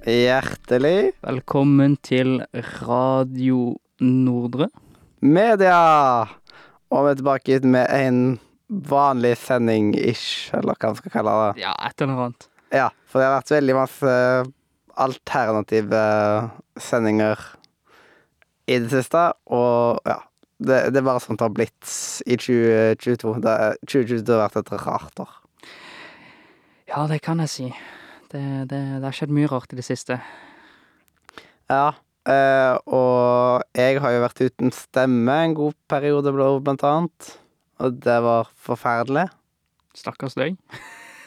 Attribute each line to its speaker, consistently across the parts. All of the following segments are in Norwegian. Speaker 1: Hjertelig
Speaker 2: Velkommen til Radio Nordre.
Speaker 1: media! Og vi er tilbake hit med en vanlig sending-ish, eller hva man skal kalle det.
Speaker 2: Ja, et eller annet.
Speaker 1: Ja, for det har vært veldig masse alternative sendinger i det siste, og ja. Det, det er bare sånt det har blitt i 2022. Det, 2022 har vært et rart år.
Speaker 2: Ja, det kan jeg si. Det, det, det har skjedd mye rart i det siste.
Speaker 1: Ja, eh, og jeg har jo vært uten stemme en god periode, blant annet. Og det var forferdelig.
Speaker 2: Stakkars deg.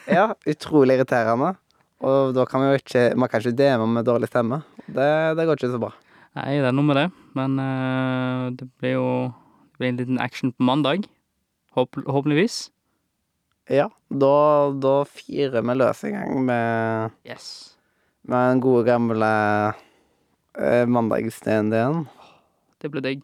Speaker 1: Ja, utrolig irriterende. Og da kan vi jo ikke Man kan ikke DM med dårlig stemme. Det, det går ikke så bra.
Speaker 2: Nei, det er noe med det, men eh, det blir jo det blir en liten action på mandag. Håp, håpeligvis.
Speaker 1: Ja, da, da firer vi løs en gang med,
Speaker 2: Yes.
Speaker 1: med den gode, gamle eh, mandagsdn
Speaker 2: Det blir digg.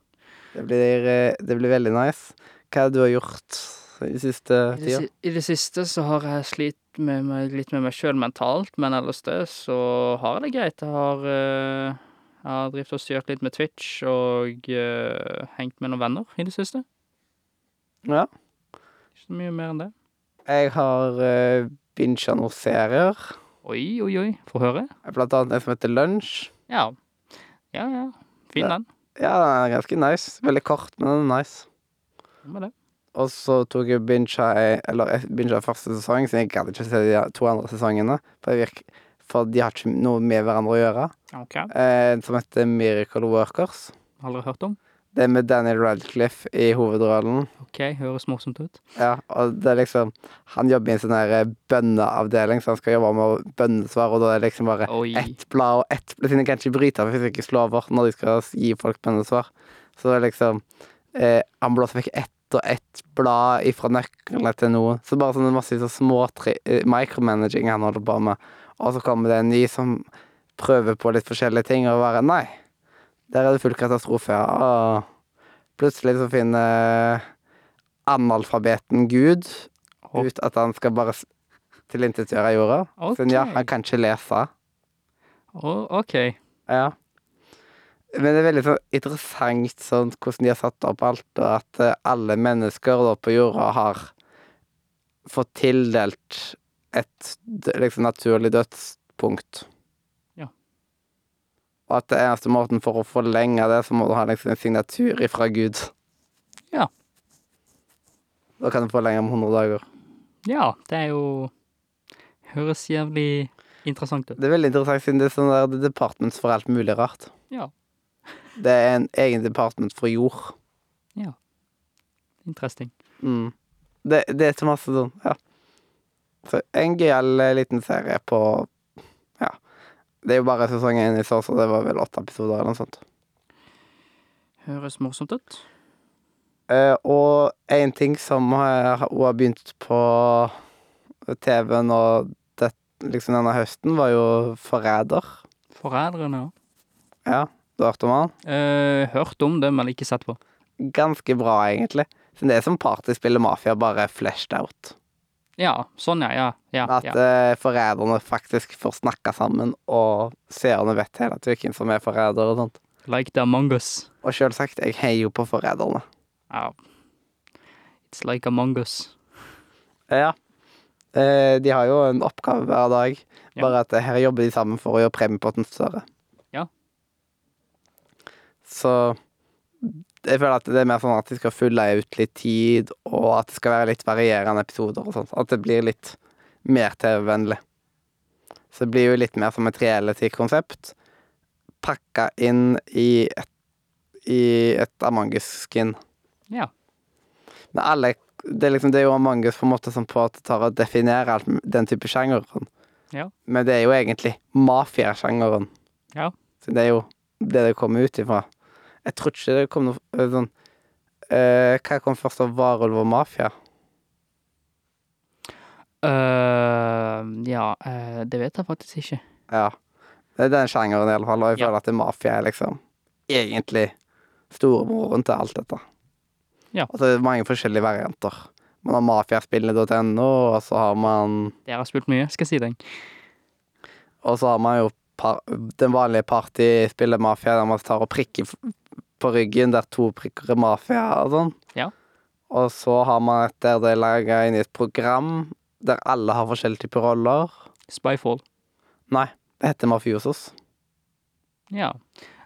Speaker 1: Det blir, eh, det blir veldig nice. Hva er det du har gjort i siste
Speaker 2: I det,
Speaker 1: tida?
Speaker 2: si- I det siste så har jeg slitt med meg, litt med meg sjøl mentalt, men ellers det så har jeg det greit. Jeg har, eh, jeg har drevet og styrt litt med Twitch og eh, hengt med noen venner i det siste.
Speaker 1: Ja.
Speaker 2: Ikke så mye mer enn det.
Speaker 1: Jeg har uh, bincha noen serier.
Speaker 2: Oi, oi, oi. Få høre.
Speaker 1: Blant annet en som heter Lunsj.
Speaker 2: Ja. Ja, ja. Fin
Speaker 1: Ja.
Speaker 2: den.
Speaker 1: Ja, den er ganske nice. Veldig kort, men den er nice.
Speaker 2: Hva med det?
Speaker 1: Og så tok jeg bincha Eller jeg bincha første sesong, så jeg gadd ikke se de to andre sesongene. For, jeg virk, for de har ikke noe med hverandre å gjøre.
Speaker 2: OK.
Speaker 1: Eh, som heter Miracle Workers.
Speaker 2: Aldri hørt om.
Speaker 1: Det er med Daniel Radcliffe i hovedrollen.
Speaker 2: OK, høres morsomt ut.
Speaker 1: Ja, og det er liksom Han jobber i en sånn her eh, bønneavdeling, så han skal jobbe med bønnesvar, og da er det liksom bare
Speaker 2: Oi.
Speaker 1: ett blad og ett blad, siden de kan ikke bryte fysiske lover når de skal gi folk bønnesvar. Så det er liksom eh, Han blåser vekk ett og ett blad ifra nøklene til noen. Så bare sånne masse så små tri eh, micromanaging han holder på med. Og så kommer det en ny som prøver på litt forskjellige ting, og bare Nei, der er det full katastrofe. Og plutselig så finner analfabeten Gud
Speaker 2: Å.
Speaker 1: ut at han skal bare s- tilintetgjøre jorda.
Speaker 2: OK.
Speaker 1: Siden ja, han kan ikke lese.
Speaker 2: Å, OK.
Speaker 1: Ja. Men det er veldig sånn interessant sånn, hvordan de har satt opp alt, og at eh, alle mennesker da, på jorda har fått tildelt et d- liksom, naturlig dødspunkt.
Speaker 2: Ja.
Speaker 1: Og at det eneste måten for å forlenge det, så må du ha liksom, en signatur ifra Gud.
Speaker 2: Ja.
Speaker 1: Da kan du forlenge om 100 dager.
Speaker 2: Ja, det er jo Høres jævlig interessant ut.
Speaker 1: Det er veldig interessant, siden det er sånn der det er departments for alt mulig rart.
Speaker 2: Ja.
Speaker 1: Det er en egen department for jord.
Speaker 2: Interesting.
Speaker 1: Mm. Det, det er så masse sånn, ja. Så en gøyal eh, liten serie på Ja. Det er jo bare sesongen i så, så det var vel åtte episoder eller noe sånt.
Speaker 2: Høres morsomt ut.
Speaker 1: Eh, og en ting som eh, har hun har begynt på TV nå det, liksom denne høsten, var jo Forræder.
Speaker 2: Forræderne, ja.
Speaker 1: Ja, du hørte om han?
Speaker 2: Eh, hørt om det, men ikke sett på.
Speaker 1: Ganske bra, egentlig. Så det er som partyspillet Mafia, bare fleshed out.
Speaker 2: Ja, sånn, ja. Ja. ja,
Speaker 1: At
Speaker 2: ja.
Speaker 1: eh, forræderne faktisk får snakke sammen, og seerne vet hele tiden hvem som er forræder og sånt.
Speaker 2: Like the among us.
Speaker 1: Og selvsagt, jeg heier jo på forræderne.
Speaker 2: Ja. It's like among us.
Speaker 1: Ja. Eh, de har jo en oppgave hver dag,
Speaker 2: Ja.
Speaker 1: bare at her jobber de sammen for å gjøre premiepotten større.
Speaker 2: Ja.
Speaker 1: Så jeg føler at det er mer sånn at de skal fylle ut litt tid, og at det skal være litt varierende episoder og sånt. At det blir litt mer TV-vennlig. Så det blir jo litt mer som et reality-konsept, pakka inn i et, i et Among us-skin.
Speaker 2: Ja.
Speaker 1: Men alle det er, liksom, det er jo Among us på en måte som på at det tar og definerer alt, den type sjangeren.
Speaker 2: Ja.
Speaker 1: Men det er jo egentlig mafiasjangeren.
Speaker 2: Ja.
Speaker 1: Så det er jo det det kommer ut ifra. Jeg tror ikke det kom noe eh, sånn eh, Hva kom først av varulv og mafia?
Speaker 2: Eh, ja, eh, det vet jeg faktisk ikke.
Speaker 1: Ja. Det er den sjangeren, i alle fall. Og jeg
Speaker 2: Ja.
Speaker 1: føler at det mafia er liksom egentlig storebroren til alt dette.
Speaker 2: Ja.
Speaker 1: Og så er det mange forskjellige varianter. Man har mafiaspillene.no, og så har man
Speaker 2: Dere har spilt mye, skal jeg si deg.
Speaker 1: Og så har man jo par, den vanlige partyspillet mafia, der man tar og prikker f- på ryggen, der to prikker er mafia og sånn.
Speaker 2: Ja.
Speaker 1: Og så har man et der det er laga inn i et program der alle har forskjellige typer roller.
Speaker 2: Spyfall.
Speaker 1: Nei, det heter Mafiosos.
Speaker 2: Ja.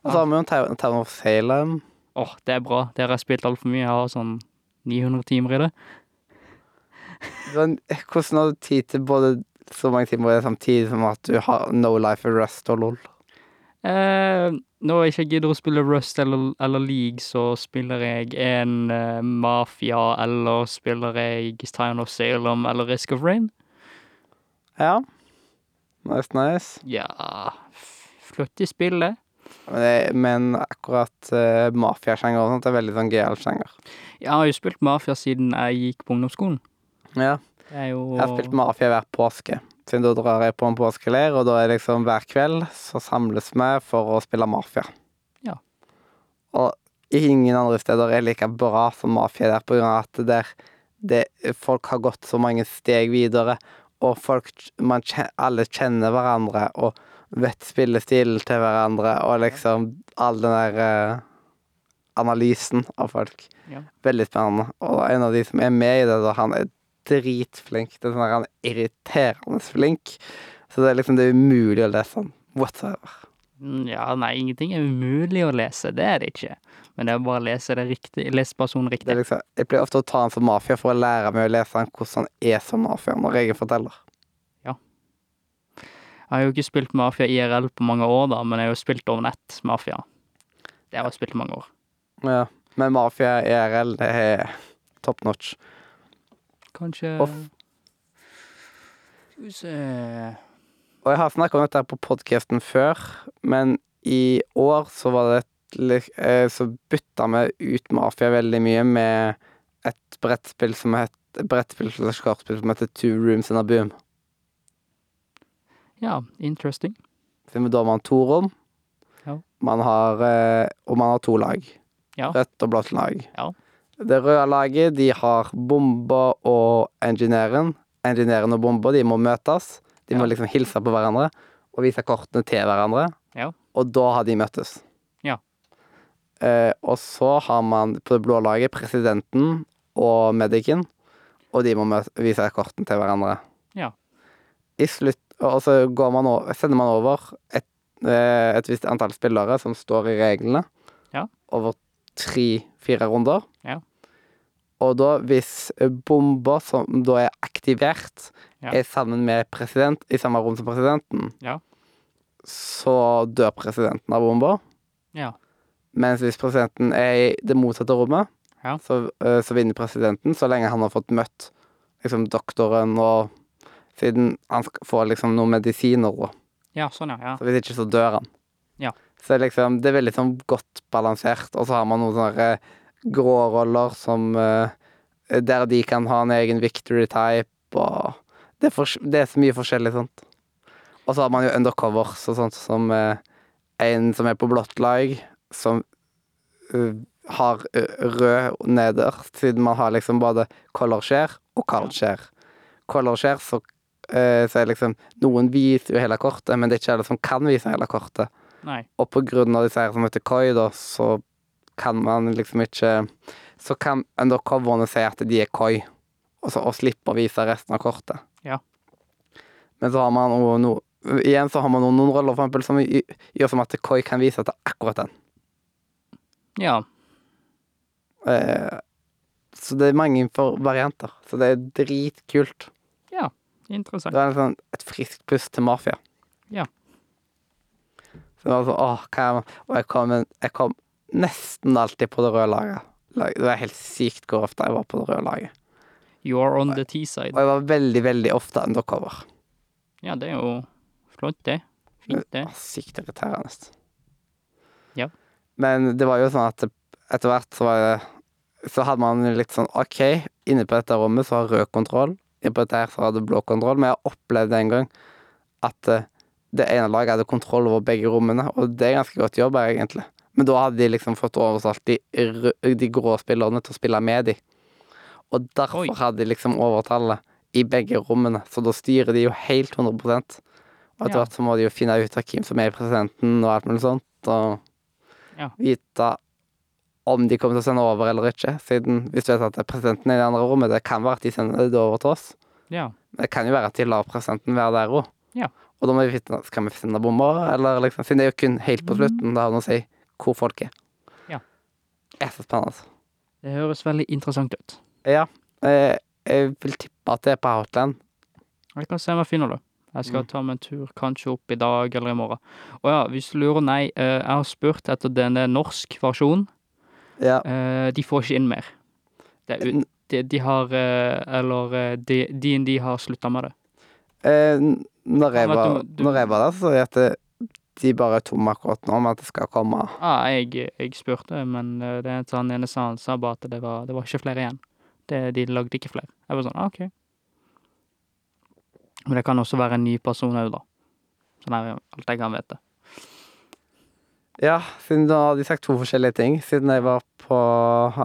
Speaker 1: Og
Speaker 2: Ja.
Speaker 1: så har vi jo Town Town of Salem.
Speaker 2: Åh, det er bra. Dere har spilt altfor mye. Jeg har sånn 900 timer i det.
Speaker 1: Men Sånn, hvordan har du tid til både så mange timer i det samtidig som at du har No Life og Rust og LOL?
Speaker 2: Eh, når jeg ikke gidder å spille Rust eller, eller League, så spiller jeg en eh, Mafia, eller spiller jeg Town of Salem eller Risk of Rain.
Speaker 1: Ja. Nice, nice.
Speaker 2: Ja f- Flott i spillet.
Speaker 1: Men, det, men akkurat uh, mafiasjanger og sånt er veldig sånn GL-sjanger.
Speaker 2: Jeg har jo spilt Mafia siden jeg gikk på ungdomsskolen.
Speaker 1: Ja.
Speaker 2: Det er jo
Speaker 1: Jeg har spilt mafia hver påske. Siden da drar jeg på en påskeleir, og da er det liksom hver kveld så samles vi for å spille mafia.
Speaker 2: Ja.
Speaker 1: Og ingen andre steder er like bra som mafia der, på grunn av at der det, folk har gått så mange steg videre, og folk man, kje- alle kjenner hverandre og vet spillestilen til hverandre, og liksom all den der eh, analysen av folk.
Speaker 2: Ja.
Speaker 1: Veldig spennende. Og en av de som er med i det, da, han er dritflink. Det er sånn der, han er irriterende flink. Så det er liksom det er umulig å lese han. Whatsoever.
Speaker 2: Mm, Ja, nei, ingenting er umulig å lese. Det er det ikke. Men det er bare å lese det riktig. Les personen
Speaker 1: Det
Speaker 2: riktig.
Speaker 1: er liksom, jeg pleier ofte å ta han som mafia for å lære meg å lese han hvordan han er som mafia når jeg er forteller.
Speaker 2: Jeg har jo ikke spilt Mafia IRL på mange år, da, men jeg har jo spilt over nett Mafia. Det har jeg spilt i mange år.
Speaker 1: Ja. Men mafia IRL, det er top notch.
Speaker 2: Kanskje
Speaker 1: Off.
Speaker 2: Skal vi se
Speaker 1: Og jeg har snakket om dette her på podcasten før, men i år så var det et, li- eh, så bytta vi ut Mafia veldig mye med et brettspill som het et brettspill eller skartspill som heter Two Rooms in a Boom.
Speaker 2: Ja, interesting.
Speaker 1: Så da har man to rom,
Speaker 2: Ja.
Speaker 1: man har, eh, og man har to lag.
Speaker 2: Ja.
Speaker 1: Rødt og blått lag.
Speaker 2: Ja.
Speaker 1: Det røde laget de har bomber og engineeren. Engineeren og bomber de må møtes. De må
Speaker 2: Ja.
Speaker 1: liksom hilse på hverandre og vise kortene til hverandre.
Speaker 2: Ja.
Speaker 1: Og da har de møttes.
Speaker 2: Ja.
Speaker 1: Eh, og så har man på det blå laget presidenten og medicen, og de må møte, vise kortene til hverandre.
Speaker 2: Ja.
Speaker 1: I slutt, og så Altså, går man over, sender man over et, eh, et visst antall spillere som står i reglene,
Speaker 2: Ja.
Speaker 1: over tre-fire runder.
Speaker 2: Ja.
Speaker 1: Og da, hvis bomber som da er aktivert,
Speaker 2: Ja.
Speaker 1: er sammen med president, i samme rom som presidenten,
Speaker 2: Ja.
Speaker 1: så dør presidenten av bomber.
Speaker 2: Ja.
Speaker 1: Mens hvis presidenten er i det motsatte rommet,
Speaker 2: Ja.
Speaker 1: så, eh, så vinner presidenten så lenge han har fått møtt liksom, doktoren og Siden han sk- får liksom noen medisiner og
Speaker 2: Ja, sånn, ja. ja.
Speaker 1: Så hvis ikke, så dør han.
Speaker 2: Ja.
Speaker 1: Så liksom, det er veldig sånn godt balansert, og så har man noen sånne eh, grå roller som eh, Der de kan ha en egen victory type, og Det er, fors- det er så mye forskjellig sånt. Og så har man jo undercovers og sånt som eh, en som er på blått lag, som eh, har eh, rød nederst, siden man har liksom både color share og card share. Color share, så, eh, så er liksom Noen viser jo hele kortet, men det er ikke alle som kan vise hele kortet.
Speaker 2: Nei.
Speaker 1: Og på grunn av disse her som heter Koi, da, så kan man liksom ikke Så kan undercoverne si at de er Koi, og, så, og slippe å vise resten av kortet.
Speaker 2: Ja.
Speaker 1: Men så har man noe, noe Igjen så har man noen, noen roller for eksempel, som i- gjør som at Koi kan vise til akkurat den.
Speaker 2: Ja.
Speaker 1: Eh, så det er mange for varianter. Så det er dritkult. Det
Speaker 2: Interessant.
Speaker 1: er liksom et friskt pust til mafia.
Speaker 2: Ja.
Speaker 1: Så det var sånn, åh, hva er det? Og jeg kom, jeg kom nesten alltid på det røde laget. Lag- Det var helt sykt hvor ofte jeg var på det røde laget.
Speaker 2: You are on the T-side.
Speaker 1: Og jeg var veldig, veldig ofte undercover.
Speaker 2: Ja, det er jo flott, det. Fint, det.
Speaker 1: Åh, Sykt irriterende.
Speaker 2: Ja.
Speaker 1: Men det var jo sånn at etter hvert så var det Så hadde man litt sånn OK, inne på dette rommet så har rød kontroll, inne på dette her så hadde blå kontroll, men jeg opplevde en gang at eh, det ene laget hadde kontroll over begge rommene, og det er ganske godt jobba, egentlig. Men da hadde de liksom fått overtalt de, rø- de grå spillerne til å spille med de. Og derfor
Speaker 2: Oi.
Speaker 1: hadde de liksom overtallet i begge rommene, så da styrer de jo helt 100 Og etter
Speaker 2: Ja.
Speaker 1: hvert så må de jo finne ut av hvem som er presidenten og alt mulig sånt, og
Speaker 2: Ja.
Speaker 1: vite om de kommer til å sende over eller ikke. Siden hvis du vet at det er presidenten i det andre rommet, det kan være at de sender det over til oss.
Speaker 2: Ja.
Speaker 1: Men det kan jo være at de lar presidenten være der òg.
Speaker 2: Ja.
Speaker 1: Og da må vi vite skal vi sende bomber, eller liksom Siden det er jo kun helt på slutten, det har noe å si hvor folk er.
Speaker 2: Mm. Ja.
Speaker 1: Det er så spennende.
Speaker 2: Det høres veldig interessant ut.
Speaker 1: Ja. Eh, jeg vil tippe at det er på Outland.
Speaker 2: Jeg kan se om jeg finner det. Jeg skal ta meg en tur, kanskje opp i dag eller i morgen. Å ja, hvis du lurer, nei, eh, jeg har spurt etter denne norsk versjonen.
Speaker 1: Ja.
Speaker 2: Eh, De får ikke inn mer. Det
Speaker 1: Eh, Mm.
Speaker 2: er, ut- de, de har eh, Eller eh, de- D&D har slutta med det.
Speaker 1: Eh, når, jeg
Speaker 2: men
Speaker 1: var,
Speaker 2: du må- du-
Speaker 1: når jeg var der, så het det de bare er tomme akkurat nå, men at det skal komme.
Speaker 2: Ja, jeg, jeg spurte, men eh, det er han ene sa han sa bare at det var, det var ikke flere igjen. Det, de lagde ikke flere. Jeg var sånn, ah, ok. Men det kan også være en ny person òg, da. Sånn er jo alt jeg kan vite.
Speaker 1: Ja, siden da har de sagt to forskjellige ting. Siden jeg var på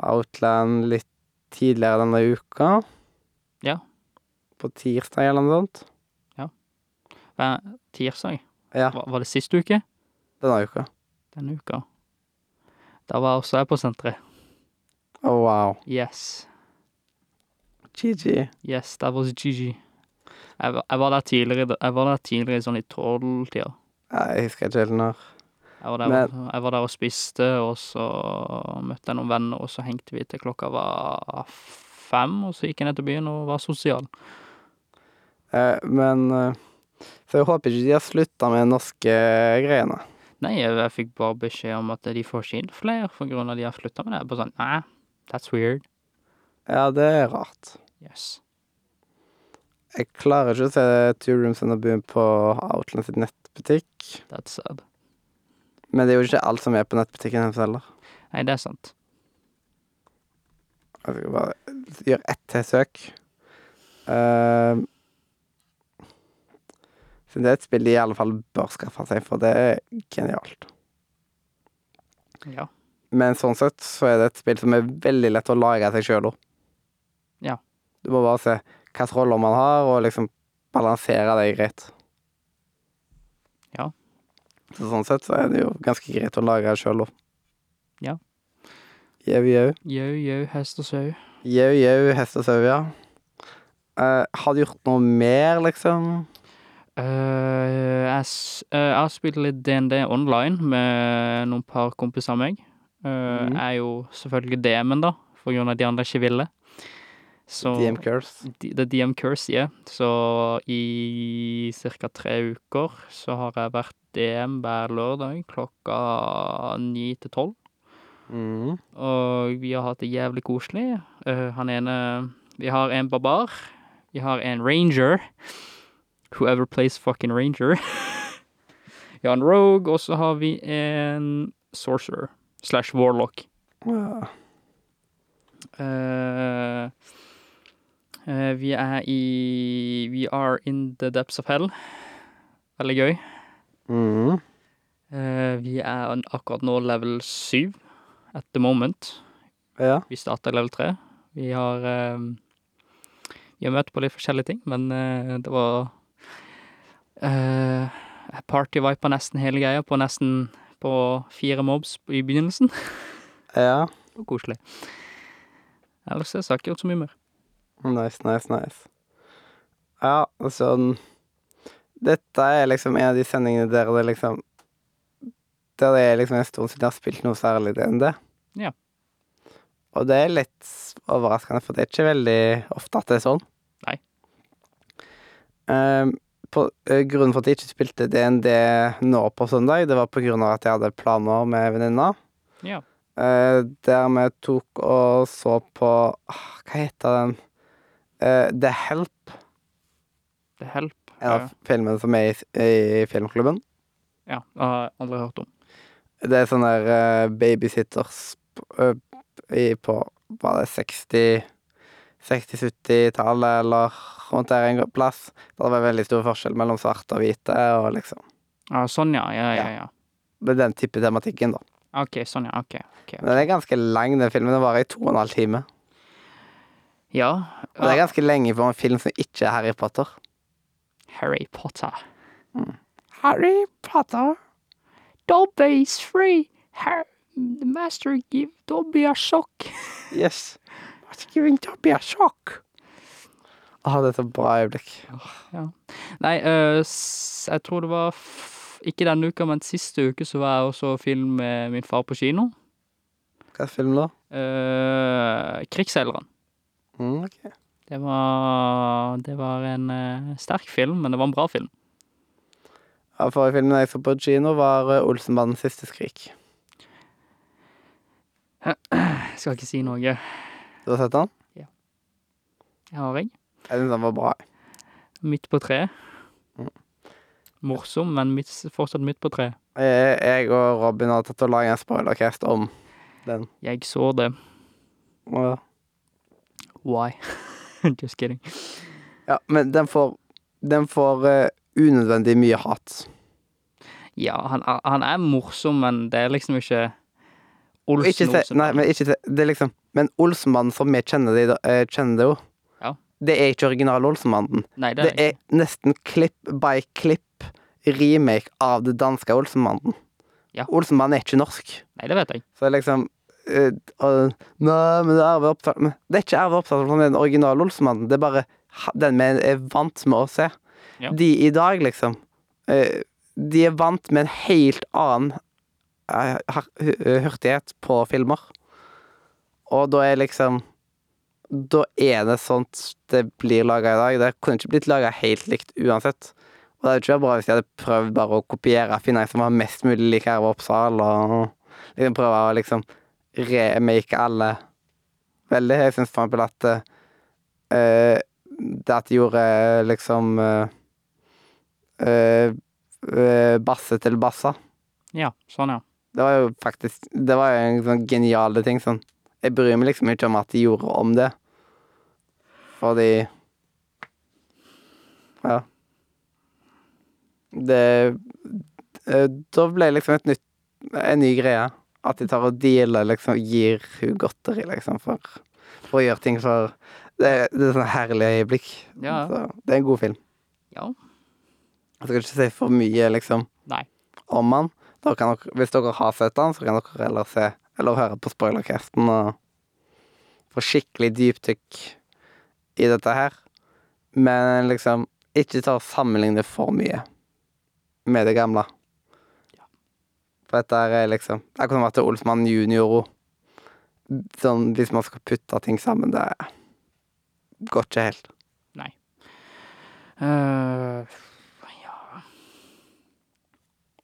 Speaker 1: Outland litt tidligere denne uka.
Speaker 2: Ja.
Speaker 1: På tirsdag eller noe sånt.
Speaker 2: Hver tirsdag?
Speaker 1: Ja.
Speaker 2: Var, var det sist uke?
Speaker 1: Denne uka.
Speaker 2: Denne uka. Da var også jeg på senteret.
Speaker 1: Å, wow.
Speaker 2: Yes.
Speaker 1: GG.
Speaker 2: Yes, that was GG. Jeg, var- jeg var der tidligere, jeg var der tidligere sånn i tolvtida.
Speaker 1: Ja, Jeg husker ikke helt når.
Speaker 2: Jeg var, der, jeg var der og spiste, og så møtte jeg noen venner, og så hengte vi til klokka var fem, og så gikk jeg ned til byen og var sosial.
Speaker 1: Eh, Men eh, Så jeg håper ikke de har slutta med de norske greiene.
Speaker 2: Nei, jeg, jeg fikk bare beskjed om at de får ikke inn flere for grunn av at de har slutta med det. Jeg bare sånn, nei, that's weird.
Speaker 1: Ja, det er rart.
Speaker 2: Yes.
Speaker 1: Jeg klarer ikke å se Two Rooms and a Boom på Outland sitt nettbutikk.
Speaker 2: That's sad.
Speaker 1: Men det er jo ikke alt som er på nettbutikken hennes heller.
Speaker 2: Nei, det er sant.
Speaker 1: Jeg skal bare gjøre ett til søk. Ehm. Så det er et spill de i alle fall bør skaffe seg, for det er genialt.
Speaker 2: Ja.
Speaker 1: Men sånn sett så er det et spill som er veldig lett å lage seg sjøl òg.
Speaker 2: Ja.
Speaker 1: Du må bare se hvilke roller man har, og liksom balansere det greit.
Speaker 2: Ja.
Speaker 1: Så sånn sett så er det jo ganske greit å lage sjøl òg.
Speaker 2: Ja.
Speaker 1: Jau, jau.
Speaker 2: Yo, yo, hest og sau.
Speaker 1: Jau, jau, hest og sau, ja. Eh, har du gjort noe mer, liksom?
Speaker 2: Eh, jeg, s- eh, jeg har spilt litt D&D online med noen par kompiser av meg. Eh,
Speaker 1: Mhm.
Speaker 2: Jeg er jo selvfølgelig DM-en, da, for grunn av at de andre ikke ville. Så,
Speaker 1: DM Curse.
Speaker 2: D- Det er DM Curse, ja. Så i ca. tre uker så har jeg vært DM hver lørdag klokka ni til tolv.
Speaker 1: Mm.
Speaker 2: Og vi har hatt det jævlig koselig. Eh, han ene Vi har en barbar. Vi har en ranger. Whoever plays fucking ranger. vi har en rogue, og så har vi en sorcerer slash warlock.
Speaker 1: Ja.
Speaker 2: Eh, eh, vi er i We are in the depths of hell. Veldig gøy.
Speaker 1: Mm.
Speaker 2: Eh, vi er an- akkurat nå level 7 at the moment.
Speaker 1: ja.
Speaker 2: Vi starta level 3. Vi har eh, Vi har møtt på litt forskjellige ting, men eh, det var eh, Jeg partyvipa nesten hele greia på nesten på fire mobs i begynnelsen.
Speaker 1: Ja.
Speaker 2: Det var koselig. Ellers har jeg ikke gjort så mye mer.
Speaker 1: Nice, nice, nice. Ja, altså Dette er liksom en av de sendingene der det liksom Der det er liksom en stund siden jeg har spilt noe særlig enn det.
Speaker 2: Ja.
Speaker 1: Og det er litt overraskende, for det er ikke veldig ofte at det er sånn.
Speaker 2: Nei.
Speaker 1: Ehm, på, eh, grunnen for at jeg ikke spilte DND nå på søndag, det var på grunn av at jeg hadde planer med venninna.
Speaker 2: Ja.
Speaker 1: Eh, der vi tok og så på ah, Hva heter den? Eh, The Help,
Speaker 2: Det hjelper.
Speaker 1: en av filmene som er i, i filmklubben.
Speaker 2: Ja, det har jeg aldri hørt om.
Speaker 1: Det er sånn der eh, babysitters p- ø- i- på Var det 60 60-70-tallet eller rundt der en plass. Det var veldig stor forskjell mellom svarte og hvite. Og liksom.
Speaker 2: Ah, sånn, ja. Ja, ja, ja.
Speaker 1: Det er den type tematikken, da.
Speaker 2: OK, sånn, ja. OK. ok.
Speaker 1: Men den er ganske lang, den filmen. Den varer i to og en halv time.
Speaker 2: Ja.
Speaker 1: Og det er ganske lenge for en film som ikke er Harry Potter.
Speaker 2: Harry Potter.
Speaker 3: Harry Potter. Dobby is free. Har the master give Dobby a shock.
Speaker 1: Yes.
Speaker 3: What's giving Dobby a shock?
Speaker 1: Å, det er så bra øyeblikk.
Speaker 2: Nei, øh, s- jeg tror det var f ikke denne uka, men siste uke så var jeg og så film med min far på kino.
Speaker 1: Hva er filmen da?
Speaker 2: Øh, 'Krigsseileren'.
Speaker 1: Mm, ok.
Speaker 2: Det var, det var en øh, sterk film, men det var en bra film.
Speaker 1: Ja, forrige filmen jeg så på kino, var eh, Olsenbandens siste skrik.
Speaker 2: Jeg skal ikke si noe. Jeg
Speaker 1: Du har sett den?
Speaker 2: har jeg.
Speaker 1: Jeg syns den var bra.
Speaker 2: Midt på treet.
Speaker 1: Mm.
Speaker 2: Morsom, men midt, fortsatt midt på treet.
Speaker 1: Eh, Jeg og Robin har tatt og laget en spoilercast om eh,
Speaker 2: Jeg så det.
Speaker 1: og-
Speaker 2: Why? Just kidding.
Speaker 1: Ja, men den får Den får eh, unødvendig mye hat.
Speaker 2: Ja, han, er- han er morsom, men det er liksom ikke
Speaker 1: Og Ikke se,
Speaker 2: Olsen-Olsen.
Speaker 1: nei, men ikke se Det er liksom Men Olsenmannen som vi kjenner det, i dag- eh, kjenner det jo,
Speaker 2: Ja.
Speaker 1: det er ikke original Olsenmannen.
Speaker 2: Nei, det
Speaker 1: Det
Speaker 2: er
Speaker 1: er nesten klipp by klipp remake av det danske Olsenmannen.
Speaker 2: Ja.
Speaker 1: Olsenmannen er ikke norsk.
Speaker 2: Nei, det vet jeg.
Speaker 1: Så det er liksom eh, og, Nei, men det er Arve Oppsal men Det er ikke Arve Oppsal som er den originale Olsenmannen. Det er bare ha- den vi er vant med å se.
Speaker 2: Ja.
Speaker 1: De i dag, liksom eh, De er vant med en helt annen eh, har- hu- eh, hurtighet på filmer. Og da er liksom Da er det sånt det blir laga i dag. Det kunne ikke blitt laga helt likt uansett. Og det hadde ikke vært bra hvis de hadde prøvd bare å kopiere, finne en som var mest mulig lik Arve Oppsal, og liksom prøve å liksom remake alle veldig. Jeg syns for eksempel at eh, det at de gjorde eh, liksom eh, eh, eh, Basse til Bassa,
Speaker 2: Ja, sånn, ja.
Speaker 1: det var jo faktisk Det var jo en sånn geniale ting. Sånn. Jeg bryr meg liksom ikke om at de gjorde om det, fordi Ja. Det eh, Da ble det liksom et nytt En ny greie. At de tar og dealer, liksom, gir hun godteri, liksom, for, for å gjøre ting for Det, det er sånn herlig øyeblikk.
Speaker 2: Ja.
Speaker 1: Så, det er en god film.
Speaker 2: Ja.
Speaker 1: Jeg skal ikke si for mye, liksom,
Speaker 2: Nei.
Speaker 1: om han. Da kan dere, hvis dere har sett han, så kan dere heller se eller høre på spoilercasten og få skikkelig dypdykk i dette her. Men liksom, ikke ta og sammenligne for mye med det gamle. For dette her er liksom Det er akkurat som at det er Olsmann junior òg. Sånn, hvis man skal putte ting sammen, det går ikke helt.
Speaker 2: Eh,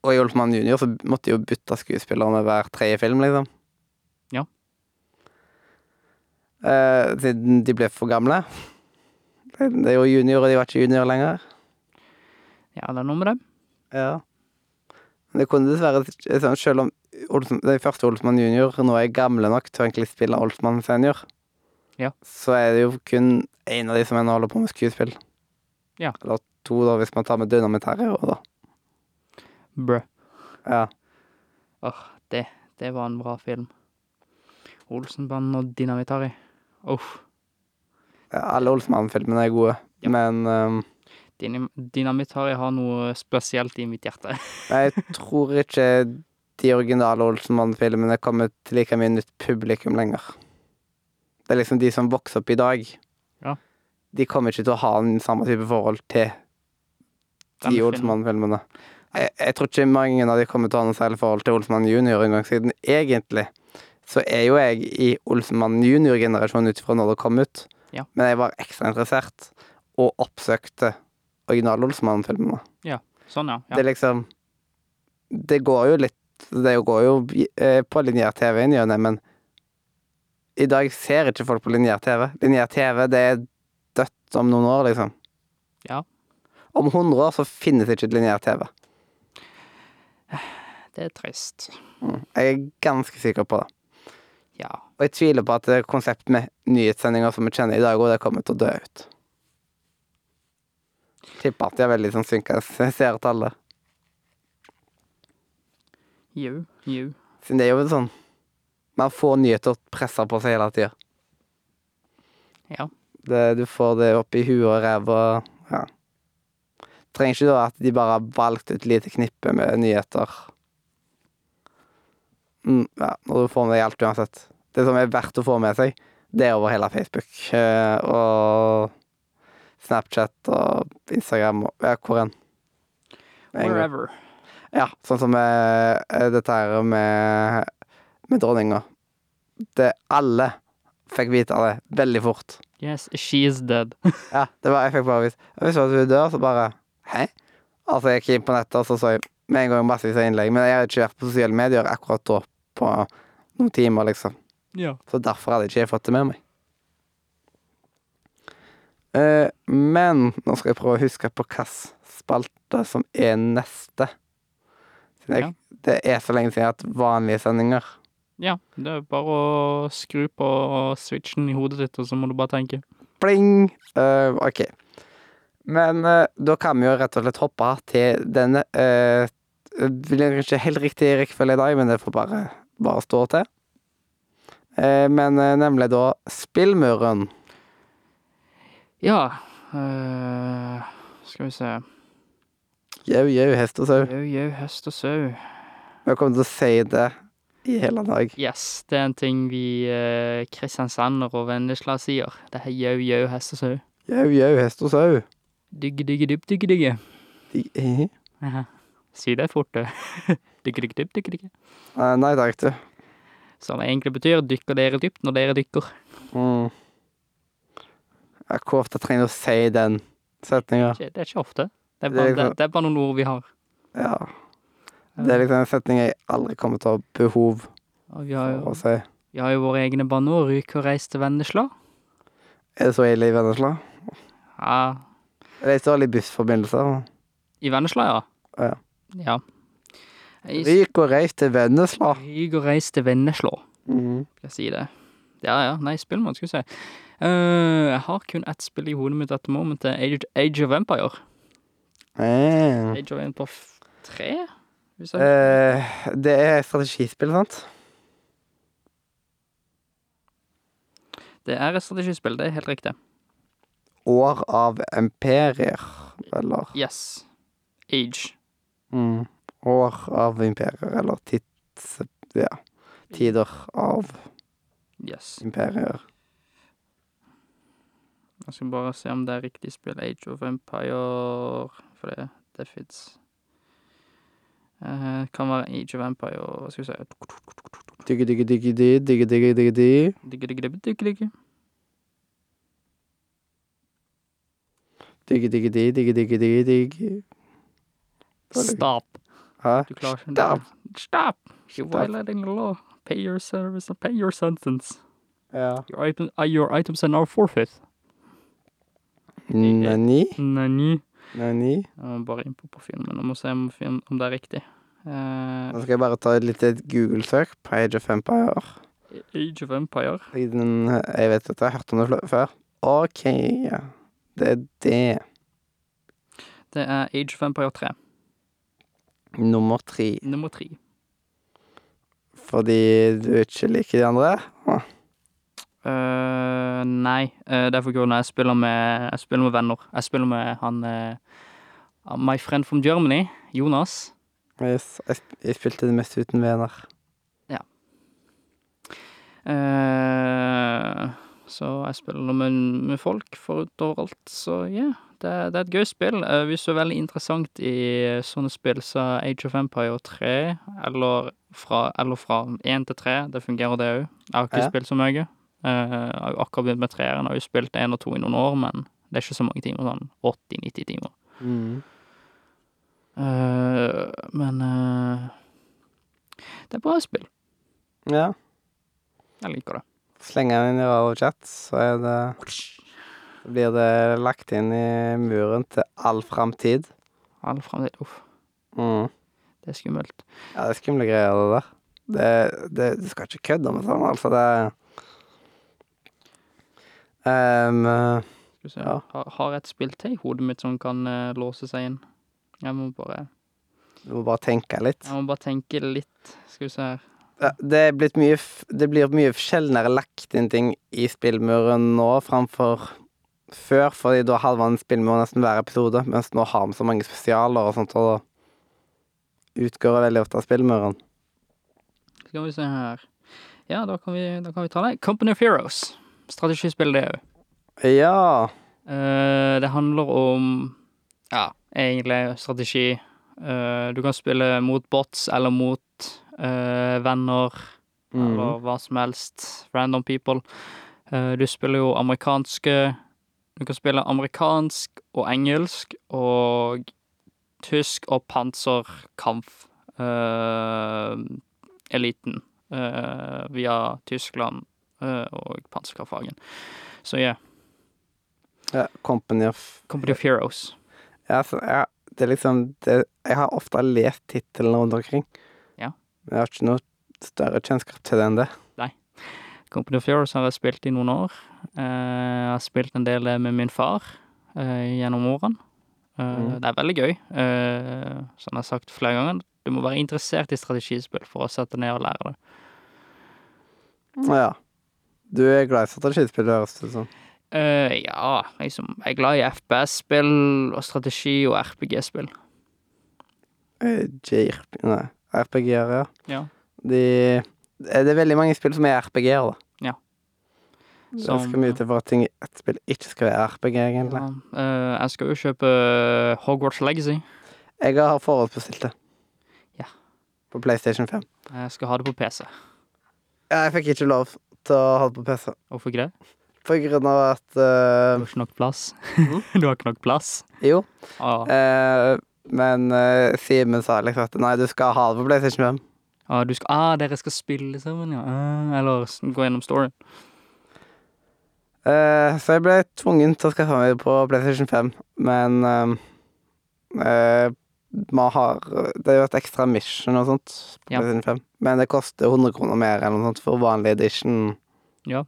Speaker 1: Og i Olsmann junior så måtte de jo bytte skuespillere med hver tredje film, liksom.
Speaker 2: Ja.
Speaker 1: Eh, siden de ble for gamle. Det er jo junior, og de var ikke junior lenger.
Speaker 2: ja, det er noe med det.
Speaker 1: Ja. Men det kunne dessverre sånn, Selv om Olsen, den første Olsmann junior nå er gamle nok til å egentlig spille Olsmann senior,
Speaker 2: Ja.
Speaker 1: så er det jo kun én av de som ennå holder på med skuespill.
Speaker 2: Ja.
Speaker 1: Eller to, da, hvis man tar med Dynamitæret òg, da.
Speaker 2: Brø.
Speaker 1: Ja.
Speaker 2: Åh, det, det var en bra film. Olsenbanden og Dinamitari. Uff.
Speaker 1: Alle Olsmann-filmene er gode,
Speaker 2: Ja.
Speaker 1: men ehm,
Speaker 2: Dinim- Dinamitari har noe spesielt i mitt hjerte.
Speaker 1: jeg tror ikke de originale Olsenmann-filmene kommer til like mye nytt publikum lenger. Det er liksom de som vokser opp i dag.
Speaker 2: Ja.
Speaker 1: De kommer ikke til å ha den samme type forhold til de
Speaker 2: Denne filmen.
Speaker 1: Olsenmann-filmene. Jeg, jeg tror ikke mange av de kommer til å ha noe særlig forhold til Olsenmann junior engang, siden egentlig så er jo jeg i Olsenmann junior-generasjonen ut ifra når det kom ut,
Speaker 2: Ja.
Speaker 1: men jeg var ekstra interessert og oppsøkte original Olsenmann-filmene.
Speaker 2: Sånn, ja.
Speaker 1: Det
Speaker 2: ja.
Speaker 1: er liksom Det går jo litt Det går jo eh, på lineær-TV inn i og ne, men i dag ser ikke folk på lineær-TV. Lineær-TV, det er dødt om noen år, liksom.
Speaker 2: Ja.
Speaker 1: Om 100 år så finnes ikke lineær-TV.
Speaker 2: Det er trist.
Speaker 1: Jeg er ganske sikker på det.
Speaker 2: Ja.
Speaker 1: Og jeg tviler på at det konseptet med nyhetssendinger som vi kjenner i dag, og det kommer til å dø ut. Tipper at de har veldig sånn synka seertall.
Speaker 2: Jau, jau.
Speaker 1: Siden det er jo sånn Man får nyheter pressa på seg hele tida.
Speaker 2: Ja.
Speaker 1: Det, du får det opp i huet og ræva. Ja. trenger ikke da at de bare har valgt et lite knippe med nyheter. Mm, ja, og du får med deg alt uansett. Det som er verdt å få med seg, det er over hele Facebook eh, og Snapchat og Instagram og ja, hvor enn. Egentlig.
Speaker 2: Wherever.
Speaker 1: Ja, sånn som eh, eh, dette her med, med dronninga. Det alle fikk vite av det veldig fort.
Speaker 2: Yes, she is dead.
Speaker 1: Ja, det var, jeg fikk bare vist Jeg visste at hun dør, så bare Hæ? Altså, jeg gikk inn på nettet, og så så jeg med en gang massevis av innlegg. Men jeg hadde ikke vært på sosiale medier akkurat da på noen timer, liksom.
Speaker 2: Ja.
Speaker 1: Så derfor hadde ikke jeg fått det med meg. Eh, men nå skal jeg prøve å huske på hvilken spalte som er neste. Siden jeg, Det er så lenge siden jeg har hatt vanlige sendinger.
Speaker 2: Ja, det er bare å skru på switchen i hodet ditt, og så må du bare tenke.
Speaker 1: Pling! Eh, ok. Men eh, da kan vi jo rett og slett hoppe til denne uh, Blir ikke helt riktig rekkefølge i dag, men det får bare, bare stå til. Eh, men eh, nemlig da Spillmuren.
Speaker 2: Ja eh, Skal vi se.
Speaker 1: Jau, jau, hest og sau.
Speaker 2: Jau, jau, hest og sau.
Speaker 1: Vi kommer til å si det i hele dag.
Speaker 2: Yes, det er en ting vi eh, kristiansander og Vennesla sier. Det er jau, jau, hest og sau.
Speaker 1: Jau, jau, hest og sau.
Speaker 2: Digge, digge, dypp, digge, digge.
Speaker 1: I- i-
Speaker 2: Aha. Si det fort, du. Digge, digge, dypp, digge, digge.
Speaker 1: Eh, Nei takk, du.
Speaker 2: Som det egentlig betyr dykker dere dypt når dere dykker.
Speaker 1: Mm. Ja, Hvor ofte trenger du å si den setninga?
Speaker 2: Ikke- Det er ikke ofte. Det er,
Speaker 1: Det
Speaker 2: bare,
Speaker 1: er
Speaker 2: det,
Speaker 1: liksom-
Speaker 2: det er bare noen ord vi har.
Speaker 1: Ja. Det er liksom en setning jeg aldri kommer til å ha behov
Speaker 2: Og vi har
Speaker 1: for
Speaker 2: jo,
Speaker 1: å si.
Speaker 2: vi har jo våre egne banneord. Ryk og reis til Vennesla.
Speaker 1: Er det så ille i Vennesla?
Speaker 2: Ja,
Speaker 1: Det er dårlige bussforbindelser.
Speaker 2: i Vennesla, ja.
Speaker 1: Ja.
Speaker 2: Ja. Ryk
Speaker 1: Ryk og reis til Vennesla.
Speaker 2: og reis til Vennesla.
Speaker 1: Mm.
Speaker 2: Skal jeg si det? Ja, ja. Nei, spill må skal vi si. Eh, jeg har kun ett spill i hodet mitt etter momentet. Age, Age of Empire.
Speaker 1: Eh.
Speaker 2: Age of Empire 3? Hvis jeg,
Speaker 1: Eh, det er strategispill, sant?
Speaker 2: det er et strategispill, det er helt riktig.
Speaker 1: År av imperier, eller
Speaker 2: Yes. Age.
Speaker 1: mm. År av imperier, eller tids... Ja. Tider av
Speaker 2: Yes.
Speaker 1: imperier.
Speaker 2: Jeg skal bare se om det er riktig spill. Age of Empire For det, det fins. Eh, kan være Age of Empire Hva skal vi si
Speaker 1: Digge, digge, digge, digge, digge, digge, digge, digge.
Speaker 2: Digge, digge, digge, digge, digge.
Speaker 1: Digge, digge, digge, digge, digge, digge, digge.
Speaker 2: Stop.
Speaker 1: Hæ?
Speaker 2: Du klarer ikke
Speaker 1: Stop.
Speaker 2: det. Stop! You're
Speaker 1: Stop.
Speaker 2: violating the law. Pay your service and pay your sentence.
Speaker 1: Ja.
Speaker 2: Your, item, uh, your items are now forfeit.
Speaker 1: Nani?
Speaker 2: Nani.
Speaker 1: Nani?
Speaker 2: Jeg må bare innpå på filmen og må se om, film, om det er riktig. Eh,
Speaker 1: Nå skal jeg bare ta et lite Google-søk på Age of Empire.
Speaker 2: Age of Empire.
Speaker 1: Siden jeg vet dette, jeg har hørt om det fl- før. OK, ja. Det er det.
Speaker 2: Det er Age of Empire 3.
Speaker 1: Nummer tre.
Speaker 2: Nummer tre.
Speaker 1: Fordi du ikke liker de andre?
Speaker 2: Eh, nei, eh, det er for grunn av jeg spiller med Jeg spiller med venner. Jeg spiller med han eh, My friend from Germany, Jonas.
Speaker 1: Yes, jeg, sp- jeg spilte det mest uten venner.
Speaker 2: Eh, så jeg spiller med, med folk forut overalt, så ja. det, er- det er et gøy spill. Eh, hvis du er veldig interessant i sånne spill, så er Age of Empire 3, eller fra, eller fra 1 til 3, det fungerer det òg. Jeg har ikke
Speaker 1: Ja.
Speaker 2: spilt så mye. Eh, jeg har jo akkurat begynt med treeren, jeg har jo spilt 1 og 2 i noen år, men det er ikke så mange timer, sånn 80-90 timer. Eh, men eh, det er bra spill.
Speaker 1: Ja.
Speaker 2: Jeg liker det.
Speaker 1: Slenger den inn i radiochat, så er det så blir det lagt inn i muren til all framtid.
Speaker 2: All fremtid. Uff,
Speaker 1: Mm.
Speaker 2: det er skummelt.
Speaker 1: Ja, det er skumle greier, det der. Det, det, du skal ikke kødde med sånn, altså. Det Ehm,
Speaker 2: Skal vi se.
Speaker 1: Ja.
Speaker 2: Har, har jeg et spill til i hodet mitt som kan eh, låse seg inn? Jeg må bare
Speaker 1: Du må bare tenke litt.
Speaker 2: Jeg må bare tenke litt. Skal vi se her.
Speaker 1: Ja, det er blitt mye f- Det blir mye sjeldnere lagt inn ting i spillmuren nå framfor før, fordi da hadde man spill med nesten hver episode, mens nå har vi så mange spesialer og sånt, og da utgår det veldig ofte av spillmuren.
Speaker 2: Skal vi se her Ja, da kan vi, da kan vi ta det. Company of Heroes. Strategispill, det òg.
Speaker 1: Ja.
Speaker 2: Eh, det handler om ja, egentlig strategi. Eh, du kan spille mot bots eller mot eh, venner
Speaker 1: Mm.
Speaker 2: eller hva som helst. Random people. Eh, du spiller jo amerikanske Du kan spille amerikansk og engelsk og tysk og panserkampf. eh, eliten eh, via Tyskland eh, og panserkampfagen. Så ja.
Speaker 1: ja Company of
Speaker 2: Company of Heroes.
Speaker 1: Ja, så jeg, det er liksom det, Jeg har ofte lest tittelen rundt omkring.
Speaker 2: Ja.
Speaker 1: Men jeg har ikke noe større kjennskap til det enn det.
Speaker 2: Company of Heroes har jeg spilt i noen år. Eh, jeg har spilt en del med min far eh, gjennom årene. Eh,
Speaker 1: Mm.
Speaker 2: Det er veldig gøy. Eh, som jeg har sagt flere ganger, du må være interessert i strategispill for å sette ned og lære det. Mm.
Speaker 1: Ja. Du er glad i strategispill, høres det ut som.
Speaker 2: Eh, ja, liksom, jeg er glad i FPS-spill og strategi og RPG-spill.
Speaker 1: Eh, JRP Nei, RPG-er, ja.
Speaker 2: Ja.
Speaker 1: De eh, Det er veldig mange spill som er RPG-er, da.
Speaker 2: Ja.
Speaker 1: Det
Speaker 2: Som-
Speaker 1: skal mye til for at ting, et spill ikke skal være RPG, egentlig.
Speaker 2: Ja. Eh, jeg skal jo kjøpe eh, Hogwarts Legacy.
Speaker 1: Jeg har forhåndsbestilt det.
Speaker 2: Ja.
Speaker 1: På PlayStation 5.
Speaker 2: Jeg skal ha det på PC.
Speaker 1: Ja, Jeg fikk ikke lov til å ha det på PC.
Speaker 2: Hvorfor ikke det?
Speaker 1: På grunn av at eh,
Speaker 2: Du har ikke nok plass. du har ikke nok plass.
Speaker 1: Jo.
Speaker 2: Ah,
Speaker 1: Mhm. Eh, men eh, Simen sa liksom at nei, du skal ha det på PlayStation 5.
Speaker 2: ah, du skal, ah, dere skal spille sammen, ja. Ah, eller s- gå gjennom storyen.
Speaker 1: Eh, så jeg ble tvungen til å skaffe meg det på PlayStation 5, men eh, eh, man har Det er jo et ekstra mission og sånt på
Speaker 2: Ja.
Speaker 1: PlayStation 5, men det koster 100 kroner mer eller noe sånt for vanlig edition
Speaker 2: Ja.